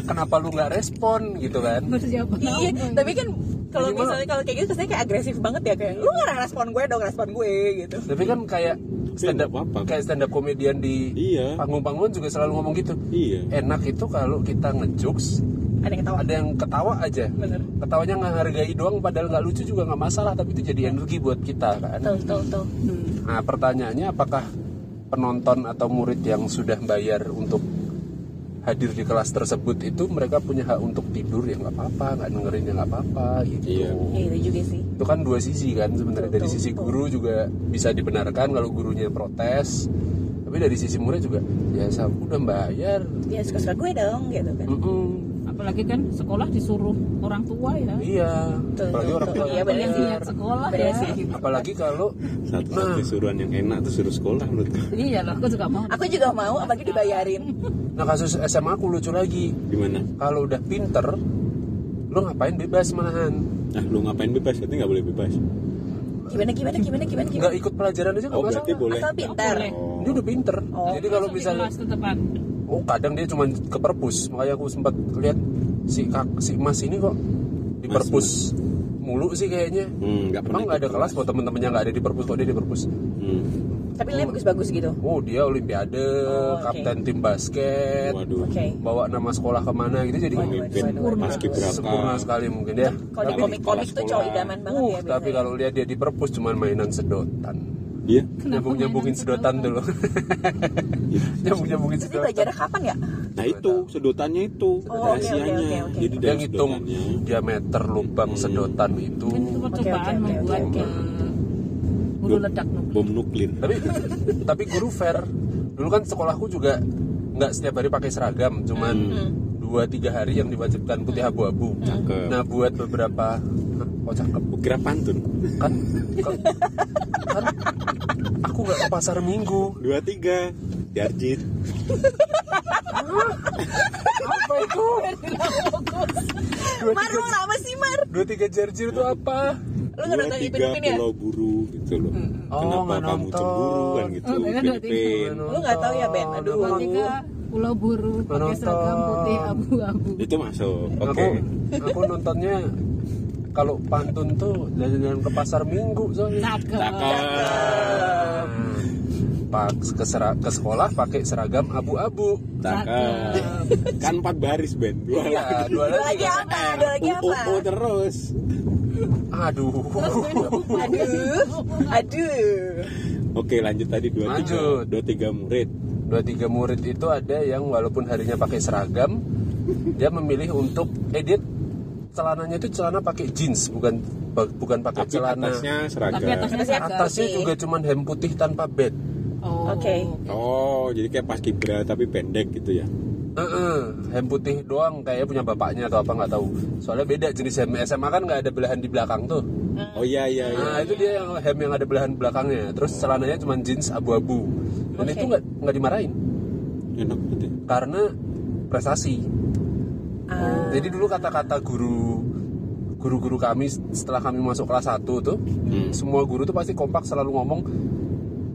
Speaker 1: kenapa lu nggak respon gitu kan
Speaker 5: siapa
Speaker 3: iya
Speaker 4: Nah,
Speaker 3: tapi kan kalau
Speaker 1: Minimal.
Speaker 3: misalnya kalau kayak gitu kesannya kayak agresif banget ya kayak lu nggak respon gue dong respon gue gitu
Speaker 1: tapi kan kayak stand up
Speaker 2: nggak apa-apa.
Speaker 1: kayak stand up komedian di
Speaker 2: Iya.
Speaker 1: panggung-panggungan juga selalu ngomong gitu
Speaker 2: Iya
Speaker 1: enak itu kalau kita ngejokes
Speaker 3: ada yang ketawa
Speaker 1: ada yang ketawa aja
Speaker 3: Bener.
Speaker 1: ketawanya nggak hargai doang padahal nggak lucu juga nggak masalah tapi itu jadi energi buat kita kan
Speaker 3: tuh tuh tuh
Speaker 1: nah pertanyaannya apakah penonton atau murid yang sudah bayar untuk hadir di kelas tersebut itu mereka punya hak untuk tidur ya nggak apa-apa nggak dengerin ya nggak apa-apa gitu
Speaker 2: Iya.
Speaker 3: ya itu juga sih
Speaker 1: itu kan dua sisi kan sebenarnya dari
Speaker 3: Betul,
Speaker 1: sisi
Speaker 3: betul.
Speaker 1: guru juga bisa dibenarkan kalau gurunya protes tapi dari sisi murid juga ya saya udah bayar
Speaker 3: ya suka suka gue dong gitu kan
Speaker 1: Mm-mm.
Speaker 4: apalagi kan sekolah disuruh orang tua ya
Speaker 1: Iya,
Speaker 3: Betul,
Speaker 1: apalagi
Speaker 3: betul,
Speaker 1: orang
Speaker 3: betul.
Speaker 1: tua
Speaker 3: Iya,
Speaker 1: yang
Speaker 3: bener sih.
Speaker 1: bayar.
Speaker 4: sekolah
Speaker 3: Bener
Speaker 4: ya
Speaker 3: sih.
Speaker 1: Apalagi kalau Nah.
Speaker 2: Satu-satu suruhan yang enak tuh suruh sekolah menurutku
Speaker 4: iya loh aku juga mau
Speaker 3: aku juga mau apalagi dibayarin
Speaker 1: nah kasus SMA aku lucu lagi.
Speaker 2: Gimana?
Speaker 1: Kalau udah pinter, lo ngapain bebas menahan?
Speaker 2: Nah lu ngapain bebas? Berarti nggak boleh bebas
Speaker 3: Eh, gimana gimana gimana gimana gimana
Speaker 1: Nggak iya, ikut pelajaran aja nggak
Speaker 2: Oh berarti
Speaker 1: masalah.
Speaker 2: boleh
Speaker 3: asal pintar
Speaker 4: boleh.
Speaker 2: Oh.
Speaker 1: Dia udah pinter.
Speaker 3: Oh.
Speaker 1: Jadi kalau
Speaker 4: Masuk di
Speaker 1: misalnya,
Speaker 4: kelas tetepan.
Speaker 1: oh kadang dia cuma ke perpus. Makanya aku sempat lihat si kak, si Mas ini kok di
Speaker 2: Mas,
Speaker 1: perpus mulu sih kayaknya.
Speaker 2: Hmm, nggak pernah
Speaker 1: Emang nggak ada
Speaker 2: ikut
Speaker 1: kelas buat temen-temennya nggak ada di perpus kok dia di perpus.
Speaker 2: Hmm.
Speaker 3: tapi nilai bagus bagus gitu
Speaker 1: Oh dia olimpiade,
Speaker 3: Oh, oke.
Speaker 1: kapten tim basket,
Speaker 2: Waduh
Speaker 3: oke
Speaker 1: bawa nama sekolah kemana gitu. Jadi
Speaker 2: Pemimpin
Speaker 3: Waduh, waduh,
Speaker 2: Mas
Speaker 1: sempurna
Speaker 2: Kibraka
Speaker 1: sekali mungkin ya.
Speaker 3: kalau
Speaker 2: Tapi
Speaker 3: di
Speaker 2: di
Speaker 3: komik-komik tuh
Speaker 2: sekolah-sekolah.
Speaker 3: cowok idaman banget
Speaker 1: Uh,
Speaker 3: ya
Speaker 1: tapi
Speaker 3: biasanya.
Speaker 1: kalau lihat dia di perpus cuman mainan sedotan.
Speaker 2: Iya
Speaker 1: Nyambung nyambungin sedotan dulu.
Speaker 2: iya.
Speaker 1: Nyambung nyambungin
Speaker 3: Terus dia
Speaker 1: sedotan.
Speaker 3: belajarnya kapan ya?
Speaker 2: Nah itu sedotannya itu
Speaker 3: Oh, oke,
Speaker 2: rahasianya.
Speaker 3: oke, oke, oke.
Speaker 2: Jadi
Speaker 1: Dia
Speaker 2: dari
Speaker 1: ngitung
Speaker 2: sedotannya.
Speaker 1: diameter lubang sedotan itu.
Speaker 4: kan itu percobaan
Speaker 3: oke, oke,
Speaker 4: membuat
Speaker 3: oke.
Speaker 4: ke guru ledak nuklir
Speaker 2: bom nuklir.
Speaker 1: Tapi tapi guru fair. Dulu kan sekolahku juga nggak setiap hari pakai seragam,
Speaker 4: Mm-hmm.
Speaker 1: cuman dua tiga hari yang diwajibkan putih abu-abu.
Speaker 2: Cakep.
Speaker 1: Nah buat beberapa bener oh cakep
Speaker 2: Kira pantun
Speaker 1: kan kan, kan aku nggak ke pasar minggu
Speaker 2: dua tiga Jarjit
Speaker 1: apa itu dua
Speaker 3: Mar, lu
Speaker 1: tiga
Speaker 3: apa sih Mar?
Speaker 1: dua tiga jarjir itu apa
Speaker 3: Lu nggak
Speaker 2: dua
Speaker 3: nonton Ipin
Speaker 2: tiga
Speaker 3: Ipin ya? Hmm,
Speaker 2: pulau guru gitu loh
Speaker 1: Oh,
Speaker 2: kenapa
Speaker 1: nggak
Speaker 2: kamu
Speaker 1: nonton.
Speaker 2: cemburu kan gitu
Speaker 4: Oh, iya,
Speaker 2: Ipin
Speaker 4: dua tiga.
Speaker 2: Ipin.
Speaker 3: Lu nggak tahu ya, Ben? Aduh,
Speaker 1: Nonton.
Speaker 4: Ketika pulau buru pakai
Speaker 1: Menonton.
Speaker 4: seragam putih abu-abu.
Speaker 2: itu masuk oke
Speaker 1: aku aku nontonnya kalau pantun tuh jalan-jalan ke pasar minggu soalnya
Speaker 2: cakep
Speaker 3: Nah.
Speaker 1: pak ke, sera- ke sekolah pakai seragam abu-abu
Speaker 2: cakep kan empat baris Ben dua
Speaker 1: iya
Speaker 2: lagi
Speaker 1: dua
Speaker 3: Ada
Speaker 1: lagi
Speaker 3: lagi ya? apa? Ada lagi
Speaker 2: Oh,
Speaker 3: apa?
Speaker 2: oh, oh, terus
Speaker 1: aduh
Speaker 3: Aduh, aduh.
Speaker 2: oke lanjut tadi dua tiga
Speaker 1: Lanjut.
Speaker 2: dua tiga murid
Speaker 1: dua tiga murid itu ada yang walaupun harinya pakai seragam dia memilih untuk edit celananya itu celana pakai jeans bukan bukan pakai
Speaker 2: tapi
Speaker 1: celana
Speaker 2: atasnya
Speaker 5: Tapi
Speaker 2: seragam
Speaker 5: atasnya
Speaker 3: Atasnya
Speaker 5: seragam.
Speaker 1: atasnya juga cuman hem putih tanpa bed
Speaker 5: Oh.
Speaker 3: Oke.
Speaker 2: oh jadi kayak pas kibra tapi pendek gitu ya
Speaker 1: Heeh, hem putih doang kayaknya punya bapaknya atau apa nggak tahu. Soalnya beda jenis hem SMA kan nggak ada belahan di belakang tuh.
Speaker 2: oh iya iya iya
Speaker 6: Ah.
Speaker 1: Nah itu dia yang hem yang ada belahan belakangnya. Terus celananya cuma jeans abu-abu. Dan
Speaker 3: Oke.
Speaker 1: itu nggak nggak dimarahin
Speaker 2: enak banget ya.
Speaker 1: karena prestasi.
Speaker 3: Ah,
Speaker 1: Jadi dulu kata-kata guru guru-guru kami setelah kami masuk kelas 1 tuh,
Speaker 2: Hmm.
Speaker 1: semua guru tuh pasti kompak selalu ngomong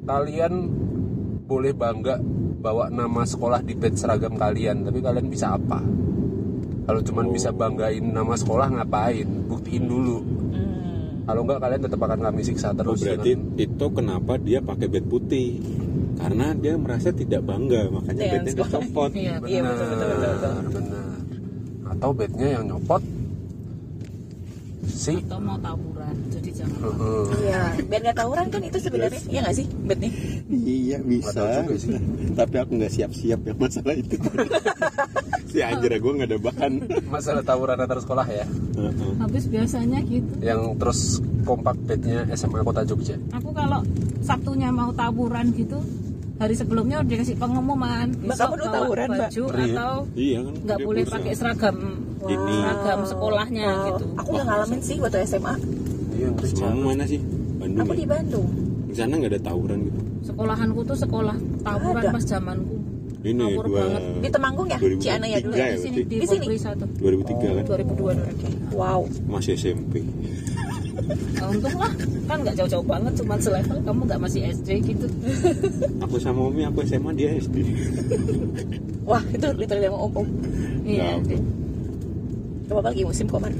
Speaker 1: kalian boleh bangga bawa nama sekolah di badge seragam kalian, tapi kalian bisa apa? Kalau cuman
Speaker 2: Oh.
Speaker 1: bisa banggain nama sekolah ngapain? Buktiin dulu.
Speaker 3: hmm.
Speaker 1: Kalau enggak kalian tetap akan kami siksa
Speaker 2: Oh,
Speaker 1: terus.
Speaker 2: berarti
Speaker 1: dengan-
Speaker 2: itu kenapa dia pakai bed putih? Karena dia merasa tidak bangga, makanya
Speaker 3: Iya,
Speaker 2: bednya
Speaker 3: sekolah.
Speaker 2: dicopot.
Speaker 5: Iya.
Speaker 3: Iya, betul, betul, betul, betul.
Speaker 1: benar. Atau bednya yang nyopot si
Speaker 4: Atau mau tawuran, jadi jangan.
Speaker 1: Heeh.
Speaker 3: Iya, biar nggak tawuran kan itu sebenarnya. Iya nggak sih, Bet nih?
Speaker 6: Iya
Speaker 1: Nggak
Speaker 6: bisa,
Speaker 1: tahu juga sih.
Speaker 6: bisa. tapi aku nggak siap-siap ya masalah itu. si anjir gue nggak ada bahan.
Speaker 1: masalah tawuran antar sekolah ya,
Speaker 2: Heeh.
Speaker 4: Habis biasanya gitu.
Speaker 1: yang terus kompak bednya SMA Kota Jogja.
Speaker 4: Aku kalau Sabtunya mau tawuran gitu, hari sebelumnya udah dikasih pengumuman.
Speaker 3: Mbak,
Speaker 4: besok
Speaker 3: kamu dulu
Speaker 4: bawa
Speaker 3: tawuran, Mbak?
Speaker 4: baju
Speaker 1: Ngeri ya?
Speaker 4: atau
Speaker 2: Iya kan?
Speaker 4: nggak
Speaker 2: dia
Speaker 4: boleh
Speaker 2: kurang.
Speaker 4: pakai seragam
Speaker 2: Ini.
Speaker 3: Ah.
Speaker 4: seragam sekolahnya
Speaker 3: Wow.
Speaker 4: gitu.
Speaker 3: Aku nggak ngalamin sih waktu SMA.
Speaker 1: Iya, yang
Speaker 2: Semamu mana sih? Bandung.
Speaker 3: Aku
Speaker 2: ya?
Speaker 3: di Bandung.
Speaker 2: Di sana nggak ada tawuran gitu.
Speaker 4: Sekolahanku tuh sekolah tawuran
Speaker 3: Ada.
Speaker 4: pas zamanku.
Speaker 2: Ini
Speaker 4: Ngawur
Speaker 2: dua.
Speaker 4: banget.
Speaker 3: Di Temanggung ya,
Speaker 2: 2003
Speaker 3: Ciana ya dulu.
Speaker 2: ya,
Speaker 3: ya?
Speaker 4: Di sini
Speaker 2: berarti.
Speaker 4: di
Speaker 3: Di sini?
Speaker 4: Popri satu.
Speaker 2: 2003
Speaker 4: Oh,
Speaker 2: kan?
Speaker 4: 2002
Speaker 3: Oke. Wow.
Speaker 2: Masih SMP.
Speaker 4: Ya,
Speaker 5: Nah, untung lah, kan nggak jauh-jauh banget, cuman selevel kamu nggak masih SD gitu.
Speaker 2: Aku sama Umi, aku SMA, dia SD.
Speaker 3: Wah, itu literally sama om-om.
Speaker 1: Ya,
Speaker 4: Iya.
Speaker 2: Nah,
Speaker 3: Coba lagi musim kok, Mar.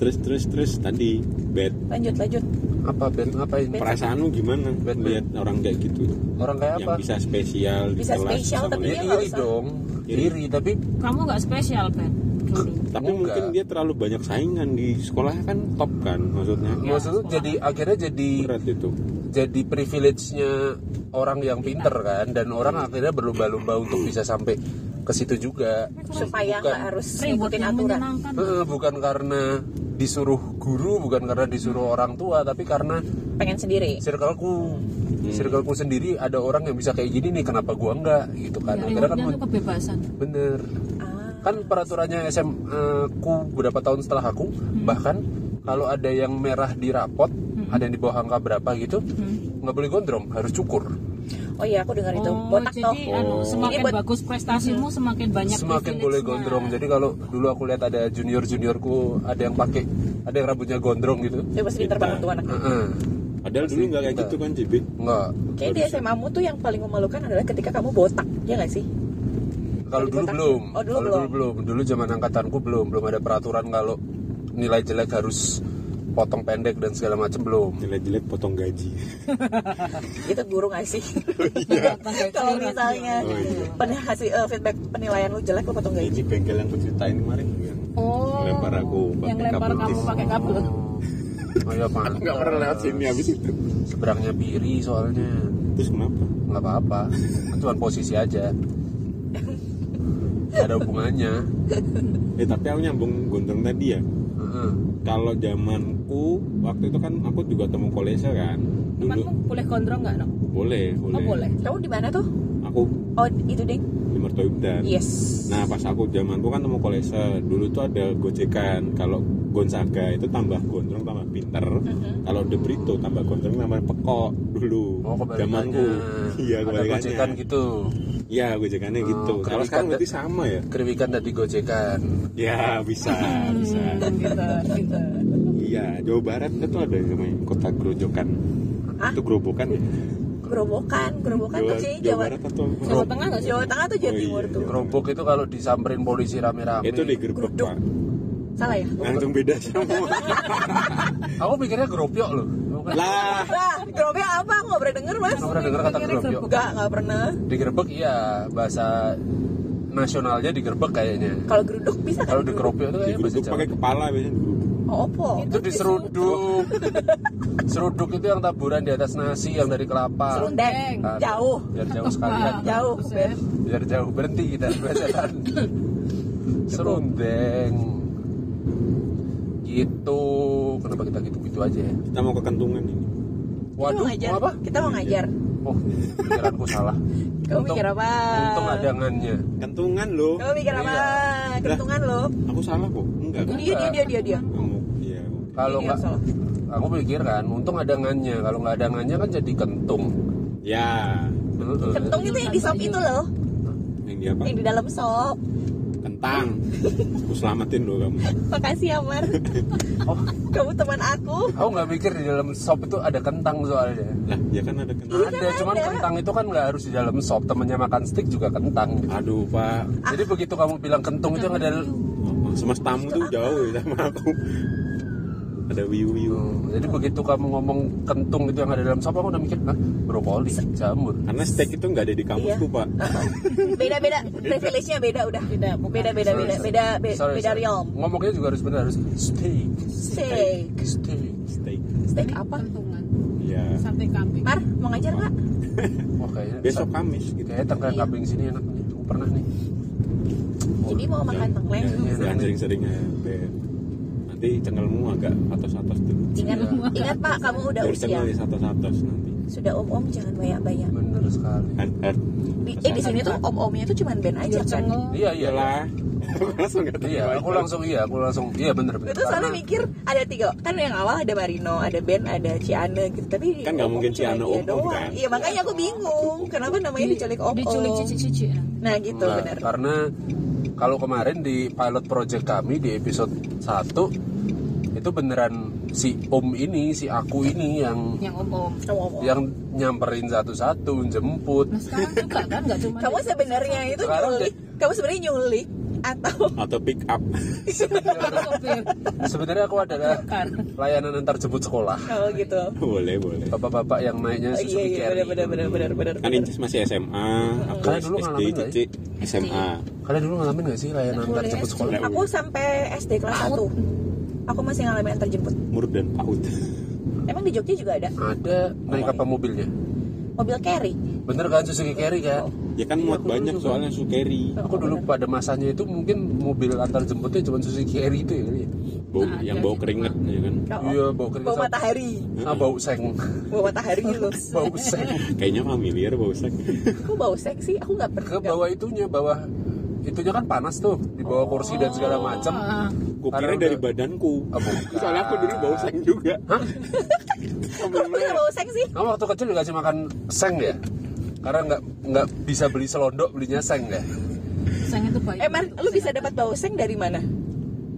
Speaker 2: Terus, terus, terus. Tadi bed.
Speaker 3: Lanjut, lanjut.
Speaker 1: Apa bed ngapain?
Speaker 2: Perasaanmu gimana?
Speaker 1: Bed, bed.
Speaker 2: Lihat orang kayak gitu.
Speaker 1: Orang kayak
Speaker 2: Yang
Speaker 1: apa? Iya,
Speaker 2: bisa spesial di
Speaker 3: Bisa
Speaker 2: kelas
Speaker 3: spesial,
Speaker 2: sama
Speaker 3: tapi
Speaker 1: Ya,
Speaker 2: lihat.
Speaker 3: dia nggak
Speaker 1: iri
Speaker 3: usah.
Speaker 1: dong,
Speaker 2: Iri.
Speaker 1: iri tapi
Speaker 4: Kamu nggak spesial Ben dulu.
Speaker 2: Tapi
Speaker 1: Enggak.
Speaker 2: mungkin dia terlalu banyak saingan di sekolah kan top kan maksudnya.
Speaker 1: maksudnya jadi akhirnya jadi
Speaker 2: Berat itu.
Speaker 1: jadi privilege-nya orang yang pinter kan dan orang akhirnya berlomba-lomba untuk bisa sampai ke situ juga.
Speaker 3: Supaya
Speaker 1: Bukan.
Speaker 3: nggak harus
Speaker 4: Ribut
Speaker 3: ngikutin
Speaker 4: yang
Speaker 3: aturan.
Speaker 4: menyenangkan.
Speaker 1: Eh, bukan karena disuruh guru, bukan karena disuruh orang tua, tapi karena
Speaker 3: Pengen sendiri.
Speaker 1: circleku circleku sendiri ada orang yang bisa kayak gini nih, kenapa gua enggak gitu kan. Akhirnya kan
Speaker 4: Rewardnya Iya, tuh kebebasan.
Speaker 1: bener
Speaker 3: Ah.
Speaker 1: kan peraturannya SMA ku berapa tahun setelah aku
Speaker 4: Hmm.
Speaker 1: bahkan kalau ada yang merah di rapot ada yang di bawah angka berapa gitu
Speaker 4: Hmm.
Speaker 1: nggak boleh gondrong harus cukur
Speaker 3: Oh iya, aku dengar itu.
Speaker 4: Oh,
Speaker 3: Botak toh.
Speaker 4: jadi anu, semakin
Speaker 3: Ini buat-
Speaker 4: bagus prestasimu semakin banyak
Speaker 1: semakin
Speaker 4: privilege-nya.
Speaker 1: boleh gondrong jadi kalau dulu aku lihat ada junior juniorku ada yang pakai ada yang rambutnya gondrong gitu
Speaker 3: Dia pasti pinter banget tuh anak.
Speaker 1: Heeh.
Speaker 2: Padahal dulu nggak kayak gitu kan JB.
Speaker 1: nggak
Speaker 3: Kayaknya di SMA mu tuh yang paling memalukan adalah ketika kamu botak, ya nggak sih?
Speaker 1: kalau dulu
Speaker 3: Botak.
Speaker 1: belum
Speaker 3: Oh, dulu
Speaker 1: kalau dulu belum dulu zaman angkatanku belum belum ada peraturan kalau nilai jelek harus potong pendek dan segala macam belum
Speaker 2: Jelek-jelek potong gaji.
Speaker 3: Itu guru nggak sih? Kalau misalnya penhasil eh, feedback penilaian lu jelek lu potong gaji.
Speaker 6: Ini bengkel yang aku ceritain kemarin yang
Speaker 5: Oh,
Speaker 2: Lempar aku pakai
Speaker 5: yang lempar
Speaker 2: kabel
Speaker 5: kamu
Speaker 2: tis.
Speaker 5: pakai kabel.
Speaker 1: oh ya pantas.
Speaker 6: nggak pernah lewat sini habis itu.
Speaker 1: seberangnya Piri soalnya
Speaker 2: Terus kenapa?
Speaker 1: nggak apa-apa cuma posisi aja Nggak ada hubungannya
Speaker 2: Eh tapi aku nyambung gondrong tadi ya.
Speaker 1: Heeh.
Speaker 2: Kalau zamanku waktu itu kan aku juga temu kolese kan. Dulu
Speaker 5: Temanmu boleh gondrong nggak, no?
Speaker 2: boleh, boleh.
Speaker 5: Oh, boleh.
Speaker 3: Kamu di mana tuh?
Speaker 2: aku
Speaker 3: oh itu deh
Speaker 2: di Mertoibdan
Speaker 3: yes
Speaker 2: Nah pas aku zaman tuh kan temu kolese dulu tuh ada gojekan kalau Gonzaga itu tambah gondrong tambah pinter
Speaker 3: Mhm.
Speaker 2: kalau De Brito tambah gondrong tambah pekok dulu
Speaker 1: Oh, kebalikannya.
Speaker 2: zamanku iya
Speaker 1: Ada gocekan
Speaker 2: kebalikannya
Speaker 1: gitu.
Speaker 2: iya gojekannya
Speaker 1: Oh,
Speaker 2: gitu kalau
Speaker 1: kebalikan
Speaker 2: sekarang
Speaker 1: deh.
Speaker 2: berarti sama ya
Speaker 1: Keriwikan tadi gocekan.
Speaker 2: ya bisa
Speaker 3: Mm-hmm.
Speaker 2: bisa
Speaker 5: gitu gitu
Speaker 2: iya Jawa Barat itu ada yang namanya kota gerojokan
Speaker 3: Hah?
Speaker 2: itu gerobokan ya
Speaker 3: gerobokan gerobokan
Speaker 2: Jawa,
Speaker 3: tuh sih
Speaker 2: Jawa
Speaker 3: Jawa
Speaker 2: Barat atau
Speaker 5: Jawa Tengah nggak sih
Speaker 3: Jawa Tengah tuh Jawa
Speaker 2: Oh, iya,
Speaker 3: Timur tuh
Speaker 2: Jawa.
Speaker 1: Kerupuk itu kalau disamperin polisi rame-rame.
Speaker 2: itu di Gerbek
Speaker 3: Geruduk.
Speaker 2: Pak
Speaker 3: salah ya
Speaker 6: langsung beda semua
Speaker 1: Aku pikirnya geropiok loh. Bukan.
Speaker 2: lah
Speaker 3: Wah, Ah, gerobak apa? Aku nggak pernah denger, Mas.
Speaker 1: Nggak pernah denger kata gerobak.
Speaker 3: Nggak, nggak pernah.
Speaker 1: Digerebek iya, bahasa nasionalnya digerebek kayaknya.
Speaker 3: Kalau geruduk bisa kan?
Speaker 1: Kalau digeropiok itu
Speaker 2: di
Speaker 1: kayaknya bahasa
Speaker 2: Geruduk
Speaker 1: Jawa.
Speaker 2: pakai kepala biasanya digeruduk.
Speaker 3: Oh, opo.
Speaker 1: Itu di seruduk. seruduk itu yang taburan di atas nasi yang dari kelapa.
Speaker 3: Serundeng.
Speaker 1: Aduh,
Speaker 3: Jauh.
Speaker 1: Biar jauh sekalian.
Speaker 3: Jauh, Beb.
Speaker 1: Biar jauh berhenti kita belajaran. Serundeng. Gitu. Kenapa kita gitu-gitu aja ya?
Speaker 2: kita mau ke kentungan ini
Speaker 3: Kita mau
Speaker 1: Waduh,
Speaker 3: ngajar.
Speaker 1: mau apa?
Speaker 3: Kita mau ngajar.
Speaker 1: Oh, pikiranku salah.
Speaker 3: Kamu mikir apa?
Speaker 1: Untung adangannya.
Speaker 2: kentungan loh
Speaker 3: Kamu mikir apa?
Speaker 1: Iya.
Speaker 3: Keuntungan lo.
Speaker 2: aku salah kok enggak kan
Speaker 3: Dia, dia, dia, dia, dia.
Speaker 2: kamu iya aku.
Speaker 1: Kalau
Speaker 3: Iya,
Speaker 1: nggak,
Speaker 3: salah.
Speaker 1: aku pikir kan, untung adangannya. Kalau nggak adangannya kan jadi kentung.
Speaker 2: ya
Speaker 1: Heeh.
Speaker 3: Kentung itu yang di sop itu loh.
Speaker 2: yang dia apa
Speaker 3: Yang di dalam sop.
Speaker 2: kentang aku selamatin loh kamu
Speaker 3: Makasih ya, Mar.
Speaker 1: Oh,
Speaker 3: Kamu teman aku.
Speaker 1: aku nggak mikir di dalam sop itu ada kentang soalnya.
Speaker 2: lah ya kan ada
Speaker 3: Iya,
Speaker 2: kentang
Speaker 1: Ada, cuman kentang itu kan nggak harus di dalam sop. Temennya makan steak juga kentang.
Speaker 2: aduh pak
Speaker 3: Ah.
Speaker 1: Jadi begitu kamu bilang kentung itu nggak ada.
Speaker 2: semestamu tuh jauh ya sama aku ada wiu wiu
Speaker 1: Hmm, Jadi begitu kamu ngomong kentung itu yang ada dalam sop, aku udah mikir, nah, brokoli, jamur.
Speaker 2: karena steak itu nggak ada di kampusku pak
Speaker 3: Beda-beda. Privilege-nya beda udah.
Speaker 5: tidak bukan
Speaker 3: Beda, beda, beda, beda, be-
Speaker 1: Sorry,
Speaker 3: beda
Speaker 1: sorry.
Speaker 3: realm.
Speaker 1: Ngomongnya juga harus benar harus steak,
Speaker 3: Steak.
Speaker 1: steak.
Speaker 2: steak
Speaker 3: Steak apa? Ah,
Speaker 4: Kentungan.
Speaker 2: ya
Speaker 4: Sate kambing.
Speaker 3: Mar, mau ngajar nggak?
Speaker 1: Wah kayaknya
Speaker 2: besok Kamis gitu
Speaker 1: Kayaknya tengkleng kambing sini enak nih. Aku pernah nih.
Speaker 3: Jadi mau makan tengkleng.
Speaker 2: jangan sering-sering ya Beb. nanti cengelmu agak atas-atas dulu
Speaker 3: Ingat, ingat Pak, kamu udah
Speaker 2: Baru
Speaker 3: usia.
Speaker 2: cengel ya atas-atas nanti
Speaker 3: Sudah om-om jangan banyak-banyak.
Speaker 1: Bener sekali.
Speaker 2: Hard, hard.
Speaker 3: Di, eh di sini tuh om-omnya tuh cuman band aja kan.
Speaker 1: Iya iya lah.
Speaker 2: Iyalah. langsung nggak
Speaker 1: Iya,
Speaker 2: terima.
Speaker 1: aku langsung iya, aku langsung iya bener
Speaker 3: Gue
Speaker 1: bener.
Speaker 3: tuh soalnya
Speaker 1: Karena-
Speaker 3: mikir ada tiga kan yang awal ada Marino, ada Ben, ada Ciane gitu. Tapi
Speaker 2: Kan nggak
Speaker 3: om-om
Speaker 2: mungkin
Speaker 3: cuma
Speaker 2: Ciane
Speaker 3: dia
Speaker 2: om-om
Speaker 3: doang.
Speaker 2: kan?
Speaker 3: Iya makanya aku bingung kenapa namanya diculik om-om.
Speaker 5: diculik cici-cici ya.
Speaker 3: Nah gitu
Speaker 1: Nah,
Speaker 3: benar.
Speaker 1: Karena kalau kemarin di pilot project kami di episode 1 itu beneran si Om ini, si aku ini yang
Speaker 5: yang om om
Speaker 3: Om-om.
Speaker 1: yang nyamperin satu-satu, jemput.
Speaker 4: Nah sekarang juga kan nggak cuma
Speaker 3: Kamu sebenarnya itu
Speaker 1: Sekarang
Speaker 3: nyulik. Kamu sebenarnya nyulik atau
Speaker 2: atau pick up
Speaker 4: sopir.
Speaker 1: Sebenarnya aku adalah layanan antar jemput sekolah.
Speaker 3: kalau gitu.
Speaker 2: boleh boleh
Speaker 1: Bapak-bapak yang naiknya
Speaker 3: Oh,
Speaker 1: Suzuki
Speaker 3: iya
Speaker 1: Carry.
Speaker 3: iya benar benar benar benar benar.
Speaker 2: kan Incis masih SMA aku
Speaker 1: Kalian dulu
Speaker 2: SD
Speaker 1: ngalamin nggak
Speaker 2: Cici SMA
Speaker 1: Kalian dulu ngalamin gak sih layanan antar
Speaker 5: Boleh,
Speaker 1: jemput sekolah?
Speaker 2: boleh.
Speaker 3: Aku sampai SD kelas 1 Aku masih ngalamin antar jemput.
Speaker 2: Murd dan Paut
Speaker 3: Emang di Jogja juga ada
Speaker 1: Ada naik apa mobilnya?
Speaker 3: mobil carry.
Speaker 1: Bener kan Suzuki Carry kan?
Speaker 3: Oh,
Speaker 2: ya kan muat
Speaker 1: aku
Speaker 2: banyak
Speaker 1: dulu
Speaker 2: soalnya sukeri
Speaker 1: Aku dulu pada masanya itu mungkin mobil antar jemputnya cuma Suzuki Carry itu ya. kali ya.
Speaker 2: bau
Speaker 3: nah, iya,
Speaker 2: yang bau keringet ya kan
Speaker 1: Iya, bau keringat
Speaker 3: Bau
Speaker 1: sama-
Speaker 3: matahari.
Speaker 1: Ah bau seng,
Speaker 3: Bau matahari gitu.
Speaker 1: bau seng.
Speaker 2: kayaknya familiar bau sek
Speaker 3: Aku bau seksi, aku nggak pernah.
Speaker 1: Ke bawah itunya, bawah itunya kan panas tuh di bawah kursi dan segala macam.
Speaker 2: aku kira
Speaker 1: Karena
Speaker 2: dari
Speaker 1: udah-
Speaker 2: badanku
Speaker 1: Oh, bukan.
Speaker 2: soalnya aku dulu bau sek juga
Speaker 3: Kok bisa bau seksi?
Speaker 1: Kamu waktu kecil dikasih makan seng ya? Karena nggak nggak bisa beli selondok belinya seng ya.
Speaker 4: Sang itu baik.
Speaker 3: Eh, Mar, lu bisa dapat bau seng dari mana?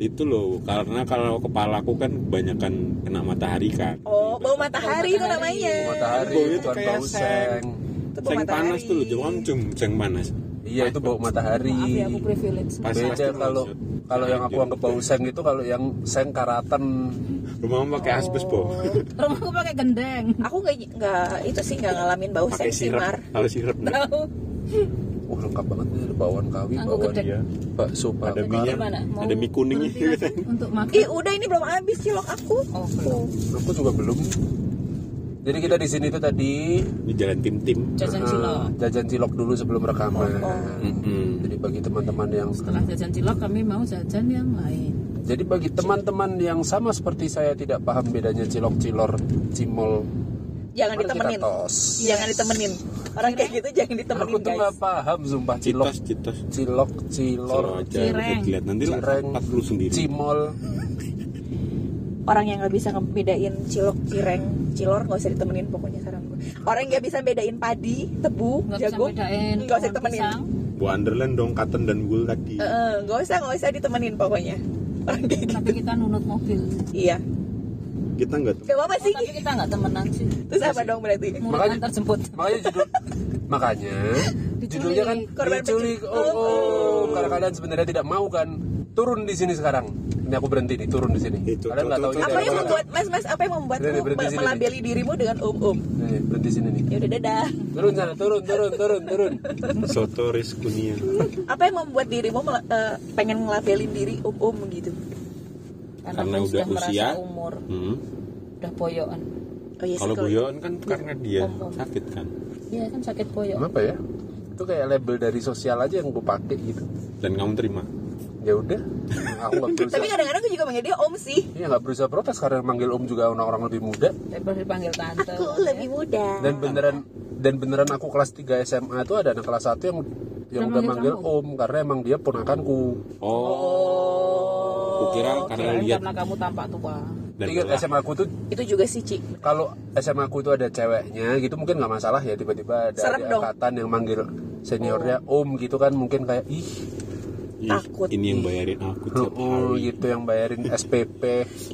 Speaker 2: itu loh karena kalau kepalaku kan kebanyakan kena matahari kan
Speaker 3: Oh, bau matahari itu namanya.
Speaker 1: Bau Matahari
Speaker 2: Baunya tuh
Speaker 1: bukan
Speaker 2: kayak
Speaker 1: bau
Speaker 2: seng.
Speaker 1: seng.
Speaker 3: Itu bau
Speaker 2: seng
Speaker 3: matahari.
Speaker 2: panas tuh loh jangan cung seng panas
Speaker 1: Iya itu bau matahari.
Speaker 5: maaf ya aku privilege
Speaker 2: Pas- pasti
Speaker 1: Beda
Speaker 2: bau
Speaker 1: kalau
Speaker 2: sek.
Speaker 1: kalau yang aku anggap bau seng itu kalau yang seng karatan
Speaker 2: rumahmu pakai asbes
Speaker 3: Oh,
Speaker 2: bo
Speaker 4: Rumahku pakai gendeng.
Speaker 3: Aku nggak nggak itu sih nggak ngalamin bau
Speaker 2: pakai
Speaker 3: seng sih, Mar.
Speaker 2: sirup kalau sirup enggak
Speaker 5: tahu
Speaker 1: Wah lengkap banget nih ada bawang kawi,
Speaker 5: Anggur
Speaker 1: bawang
Speaker 5: gedek.
Speaker 1: dia, bakso,
Speaker 2: ada
Speaker 1: bakar.
Speaker 2: minyak
Speaker 5: gimana? Mau
Speaker 2: ada mie kuningnya
Speaker 4: Berhenti lagi untuk makan.
Speaker 3: Ih, udah ini belum habis cilok aku.
Speaker 5: oh belum
Speaker 1: Aku juga belum. Jadi kita di sini tuh tadi
Speaker 2: di jalan tim tim
Speaker 5: jajan
Speaker 1: eh,
Speaker 5: cilok
Speaker 1: jajan cilok dulu sebelum rekaman.
Speaker 3: Oh.
Speaker 2: Mm-mm.
Speaker 1: Jadi bagi teman-teman yang
Speaker 5: setelah jajan cilok kami mau jajan yang lain
Speaker 1: jadi bagi teman-teman yang sama seperti saya tidak paham bedanya cilok, cilor, cimol,
Speaker 3: jangan
Speaker 1: Mari kita
Speaker 3: ditemenin
Speaker 1: tos.
Speaker 3: jangan ditemenin orang kayak gitu jangan
Speaker 1: Aku
Speaker 3: ditemenin
Speaker 1: tuh nggak
Speaker 3: guys
Speaker 1: paham sumpah cilok,
Speaker 2: citos citos
Speaker 1: cilok, cilor,
Speaker 2: Selalu aja
Speaker 4: Cireng.
Speaker 2: ikut dilihat nanti lah
Speaker 1: cireng,
Speaker 2: empat lu sendiri
Speaker 1: cimol.
Speaker 3: orang yang nggak bisa ngebedain cilok cireng cilor nggak usah ditemenin pokoknya saran gue orang yang nggak bisa bedain padi tebu
Speaker 4: Nggak bisa
Speaker 3: jagung
Speaker 4: bedain
Speaker 3: Ya, nggak usah
Speaker 4: pohon
Speaker 3: ditemenin
Speaker 4: pisang.
Speaker 2: Wonderland dong Katen dan Gul tadi
Speaker 3: Eh, eh, nggak usah nggak usah ditemenin pokoknya orang kayak gitu
Speaker 4: tapi kita nunut mobil
Speaker 3: iya
Speaker 2: kita nggak
Speaker 3: gak apa-apa sih
Speaker 4: Oh,
Speaker 5: tapi kita nggak temenan sih
Speaker 3: terus apa dong berarti
Speaker 5: murid
Speaker 1: Makanya-
Speaker 5: antar jemput
Speaker 1: Makanya judul makanya judulnya kan
Speaker 3: Korban
Speaker 1: diculik.
Speaker 3: penculik.
Speaker 1: Oh, oh. karena kalian sebenarnya tidak mau kan turun di sini sekarang. Ini aku berhenti nih, turun di sini.
Speaker 2: Itu,
Speaker 1: kalian nggak
Speaker 2: tuh,
Speaker 1: tahu
Speaker 2: tuh,
Speaker 1: ini
Speaker 3: apa
Speaker 2: Udah,
Speaker 3: yang
Speaker 1: apa.
Speaker 3: membuat mas mas apa yang membuat
Speaker 1: Udah, udah, berhenti sini,
Speaker 3: melabeli dirimu dengan um um
Speaker 1: Nih, berhenti sini nih.
Speaker 3: ya udah dadah
Speaker 1: Turun sana, turun, turun, turun, turun.
Speaker 2: Soto Riz Kunia
Speaker 3: apa yang membuat dirimu mela- eh, pengen ngelabelin diri um um gitu
Speaker 2: Karena
Speaker 5: aku
Speaker 2: udah
Speaker 5: sudah merasa
Speaker 2: usia.
Speaker 5: umur
Speaker 2: Hmm.
Speaker 5: udah poyoan
Speaker 3: oh iya sih,
Speaker 2: Kalau
Speaker 3: kalau-
Speaker 2: Boyon kan karena dia sakit kan
Speaker 5: iya kan sakit poyoan
Speaker 1: Kenapa ya? Itu kayak label dari sosial aja yang gue pakai gitu.
Speaker 2: Dan kamu terima
Speaker 1: Ya udah, aku nggak berusaha.
Speaker 3: tapi kadang-kadang aku juga manggil dia om sih
Speaker 1: Iya nggak berusaha protes karena manggil om juga orang-orang lebih muda
Speaker 5: daripada Eh, dipanggil tante
Speaker 3: aku lebih muda
Speaker 1: dan beneran dan beneran aku kelas 3 SMA tuh ada anak kelas 1 yang yang udah manggil om karena emang dia ponakanku.
Speaker 3: Oh.
Speaker 2: Oh Kukira
Speaker 3: Iya,
Speaker 1: Iya.
Speaker 2: karena
Speaker 5: Kirain
Speaker 2: lihat
Speaker 5: karena kamu tampak tua
Speaker 2: dan
Speaker 1: Ingat
Speaker 2: lelah.
Speaker 1: SMA aku tuh
Speaker 3: itu juga sih Ci
Speaker 1: kalau SMA aku itu ada ceweknya gitu mungkin nggak masalah ya tiba-tiba ada
Speaker 3: Serem
Speaker 1: adik
Speaker 3: dong. Oh.
Speaker 1: angkatan yang manggil seniornya om gitu kan mungkin kayak ih
Speaker 2: Ih,
Speaker 3: iya. Takut.
Speaker 2: Ini yang bayarin aku tiap
Speaker 1: oh,
Speaker 2: hari
Speaker 1: gitu yang bayarin SPP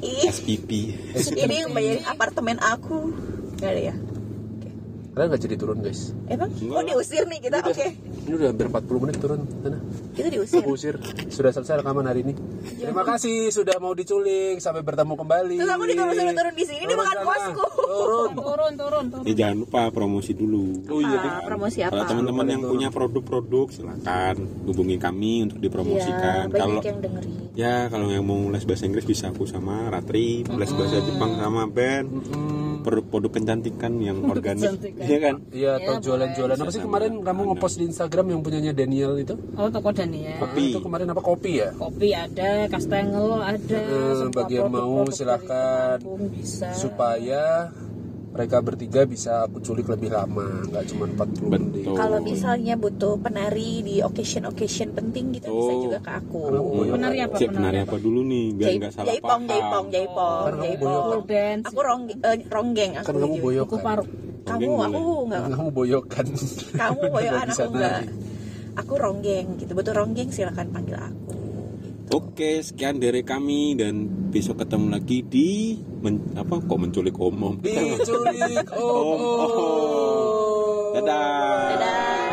Speaker 3: ih
Speaker 2: SPP
Speaker 3: ini yang bayarin apartemen aku nggak ada ya
Speaker 1: kalian nggak jadi turun guys
Speaker 3: emang
Speaker 2: Enggak
Speaker 3: oh
Speaker 2: lah.
Speaker 3: diusir nih kita oke
Speaker 1: ini udah hampir 40 menit turun sana
Speaker 3: kita diusir
Speaker 1: aku usir sudah selesai rekaman hari ini terima kasih sudah mau diculik sampai bertemu kembali
Speaker 3: Ya Terus aku disuruh suruh turun di sini, ini
Speaker 1: Turun
Speaker 3: bukan
Speaker 1: sana.
Speaker 3: kosku.
Speaker 1: turun
Speaker 4: turun turun turun
Speaker 2: Eh jangan lupa promosi dulu. Oh iya.
Speaker 3: Ah, promosi apa?
Speaker 2: Kalau teman-teman yang punya produk-produk silakan hubungi kami untuk dipromosikan. kan. kalau
Speaker 3: Iya, dengerin
Speaker 2: ya kalau yang mau les bahasa Inggris bisa aku sama Ratri, les bahasa Jepang sama Ben. Produk-produk kecantikan yang organik. Iya kan?
Speaker 1: iya
Speaker 3: Ya
Speaker 1: atau jualan-jualan apa sih kemarin kamu ngepost di Instagram yang punyanya Daniel itu
Speaker 5: oh toko Dania
Speaker 2: Kopi.
Speaker 1: itu kemarin apa kopi ya
Speaker 5: kopi ada kastengel ada
Speaker 1: Eh,
Speaker 5: semua
Speaker 1: bagi yang
Speaker 5: produk-produk
Speaker 1: mau,
Speaker 5: dari
Speaker 1: silakan.
Speaker 5: kampung bisa
Speaker 1: supaya mereka bertiga bisa aku culik lebih lama nggak cuma 40 menit
Speaker 2: Betul.
Speaker 3: kalau misalnya butuh penari di occasion occasion penting gitu bisa
Speaker 2: Oh.
Speaker 3: juga ke aku
Speaker 1: Karena aku boyong.
Speaker 4: Penari apa?
Speaker 2: Cek penari apa dulu nih biar nggak salah
Speaker 3: jaipong jaipong
Speaker 2: paham.
Speaker 3: jaipong
Speaker 1: Karena kamu
Speaker 3: jaipong.
Speaker 1: boyong.
Speaker 4: full dance
Speaker 3: aku rong eh, ronggeng aku
Speaker 1: kan kamu
Speaker 3: jujur.
Speaker 1: boyok
Speaker 4: aku paruk
Speaker 3: kamu
Speaker 2: Ronggeng
Speaker 3: aku nggak
Speaker 1: kamu boyokan
Speaker 3: kamu boyoan
Speaker 1: bisa
Speaker 3: aku nggak
Speaker 1: nari.
Speaker 3: aku ronggeng gitu butuh ronggeng silakan panggil aku
Speaker 2: Oke, sekian dari kami dan besok ketemu lagi di men- apa kok menculik
Speaker 3: Iya,
Speaker 2: omong.
Speaker 1: diculik oh,
Speaker 2: Om. Dadah.
Speaker 3: dadah